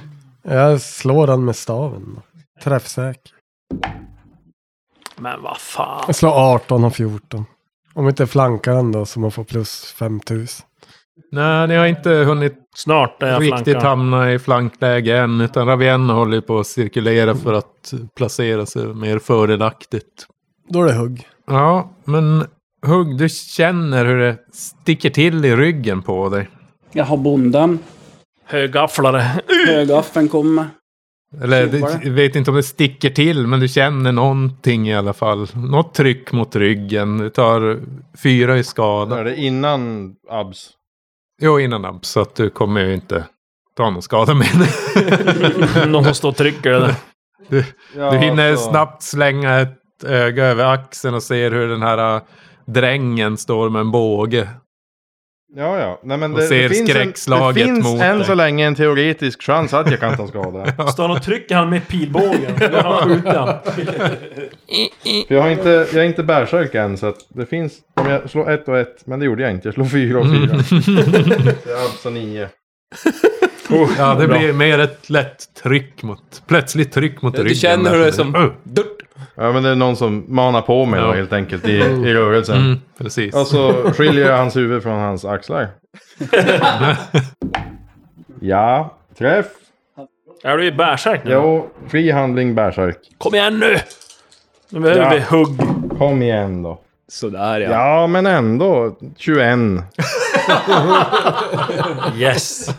Speaker 3: Jag slår han med staven. Träffsäker.
Speaker 5: Men vad fan.
Speaker 3: Jag
Speaker 2: Alltså,
Speaker 3: slår 18 och 14. Om inte flankar han då så man får plus 5000.
Speaker 2: Nej, ni har inte hunnit
Speaker 5: Snart är jag
Speaker 2: riktigt
Speaker 5: flankad.
Speaker 2: hamna i flankläge än. Utan Ravienna håller ju på att cirkulera för att placera sig mer fördelaktigt.
Speaker 3: Då är det hugg.
Speaker 2: Ja, men Hugg, du känner hur det sticker till i ryggen på dig.
Speaker 4: Jag har bonden.
Speaker 5: Högafflare. Uh!
Speaker 4: Högaffeln kommer.
Speaker 2: Eller
Speaker 4: Tjuvar.
Speaker 2: du vet inte om det sticker till, men du känner någonting i alla fall. Något tryck mot ryggen. Du tar fyra i
Speaker 7: Är
Speaker 2: skada.
Speaker 7: det innan abs?
Speaker 2: Jo, innan abs, så att du kommer ju inte ta någon skada med det.
Speaker 5: Någon som står och trycker det där.
Speaker 7: Ja,
Speaker 2: Du hinner
Speaker 7: alltså.
Speaker 2: snabbt slänga ett öga över axeln och ser hur den här äh, drängen står med en båge.
Speaker 7: Ja, ja. Nej, men
Speaker 2: Och
Speaker 7: det,
Speaker 2: ser
Speaker 7: det finns, en, det
Speaker 2: skräckslaget
Speaker 7: finns
Speaker 2: mot
Speaker 7: än
Speaker 2: dig.
Speaker 7: så länge en teoretisk chans att jag kan ta skada.
Speaker 5: Står han och trycker han med pilbågen? Eller har han skjutit han?
Speaker 7: För jag, har inte, jag är inte bärsärk än så att det finns, om jag slår ett och ett, men det gjorde jag inte, jag slog fyra och
Speaker 8: Mm.
Speaker 7: fyra. Det är alltså nio. Oh,
Speaker 2: Ja, det
Speaker 7: bra.
Speaker 2: blir mer ett lätt tryck mot... Plötsligt tryck mot
Speaker 8: Du
Speaker 2: ryggen.
Speaker 8: känner hur det är som...
Speaker 2: Uh,
Speaker 8: Dutt.
Speaker 7: Ja men det är någon som manar på mig då
Speaker 2: Ja.
Speaker 7: helt enkelt i, i rörelsen.
Speaker 2: Mm, precis.
Speaker 7: Och så skiljer jag hans huvud från hans axlar. ja, träff.
Speaker 5: Är du i bärsärk nu?
Speaker 7: Jo, fri handling bärsärk.
Speaker 5: Kom igen nu! Nu behöver
Speaker 7: Ja.
Speaker 5: vi hugg.
Speaker 7: Kom igen då.
Speaker 8: Sådär ja.
Speaker 7: Ja, men ändå. 21.
Speaker 5: Yes!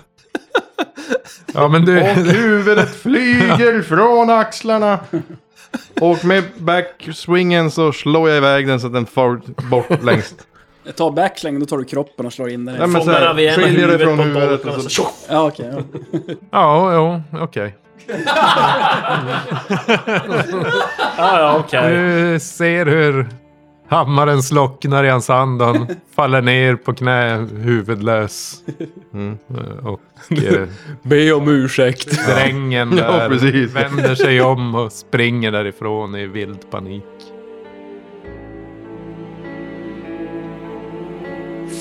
Speaker 2: Ja, men
Speaker 7: Och
Speaker 2: du...
Speaker 7: huvudet flyger från axlarna. Och med backswingen så slår jag iväg den så att den far bort längst.
Speaker 4: Jag tar backslang, då tar du kroppen och slår in den.
Speaker 7: Nej, men så
Speaker 5: Fångar av
Speaker 7: här,
Speaker 5: ena
Speaker 7: skiljer det
Speaker 5: huvudet
Speaker 7: från
Speaker 5: på
Speaker 7: huvudet. alltså.
Speaker 5: bollen
Speaker 7: Och
Speaker 5: och så
Speaker 7: så,
Speaker 5: tjoff!
Speaker 4: Ja, okej. ja.
Speaker 2: Ja, jo, okej.
Speaker 5: Ja, ja, okej.
Speaker 2: Du ser hur hammaren slocknar i hans hand och han faller ner på knä huvudlös.
Speaker 7: Mm.
Speaker 2: Eh, Och eh,
Speaker 8: Be om ursäkt.
Speaker 2: drängen
Speaker 7: Ja,
Speaker 2: där
Speaker 7: precis.
Speaker 2: vänder sig om och springer därifrån i vild panik.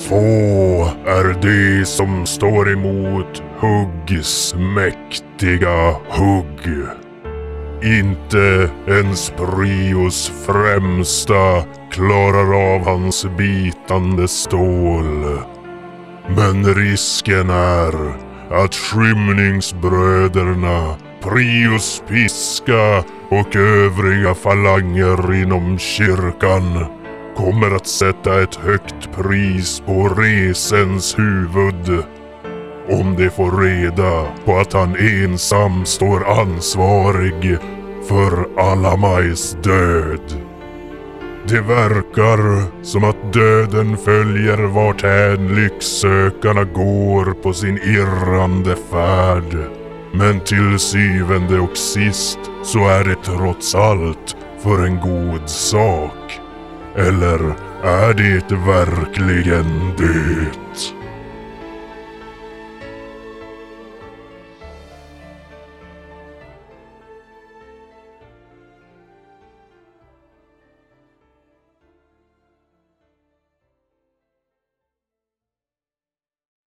Speaker 1: Få är de som står emot Huggs mäktiga hugg. Inte ens Prios främsta klarar av hans bitande stål. Men risken är att skymningsbröderna, Prius piska och övriga falanger inom kyrkan kommer att sätta ett högt pris på resens huvud. Om de får reda på att han ensam står ansvarig för Alamais död. Det verkar som att döden följer varthän lycksökarna går på sin irrande färd. Men till syvende och sist så är det trots allt för en god sak. Eller är det verkligen det?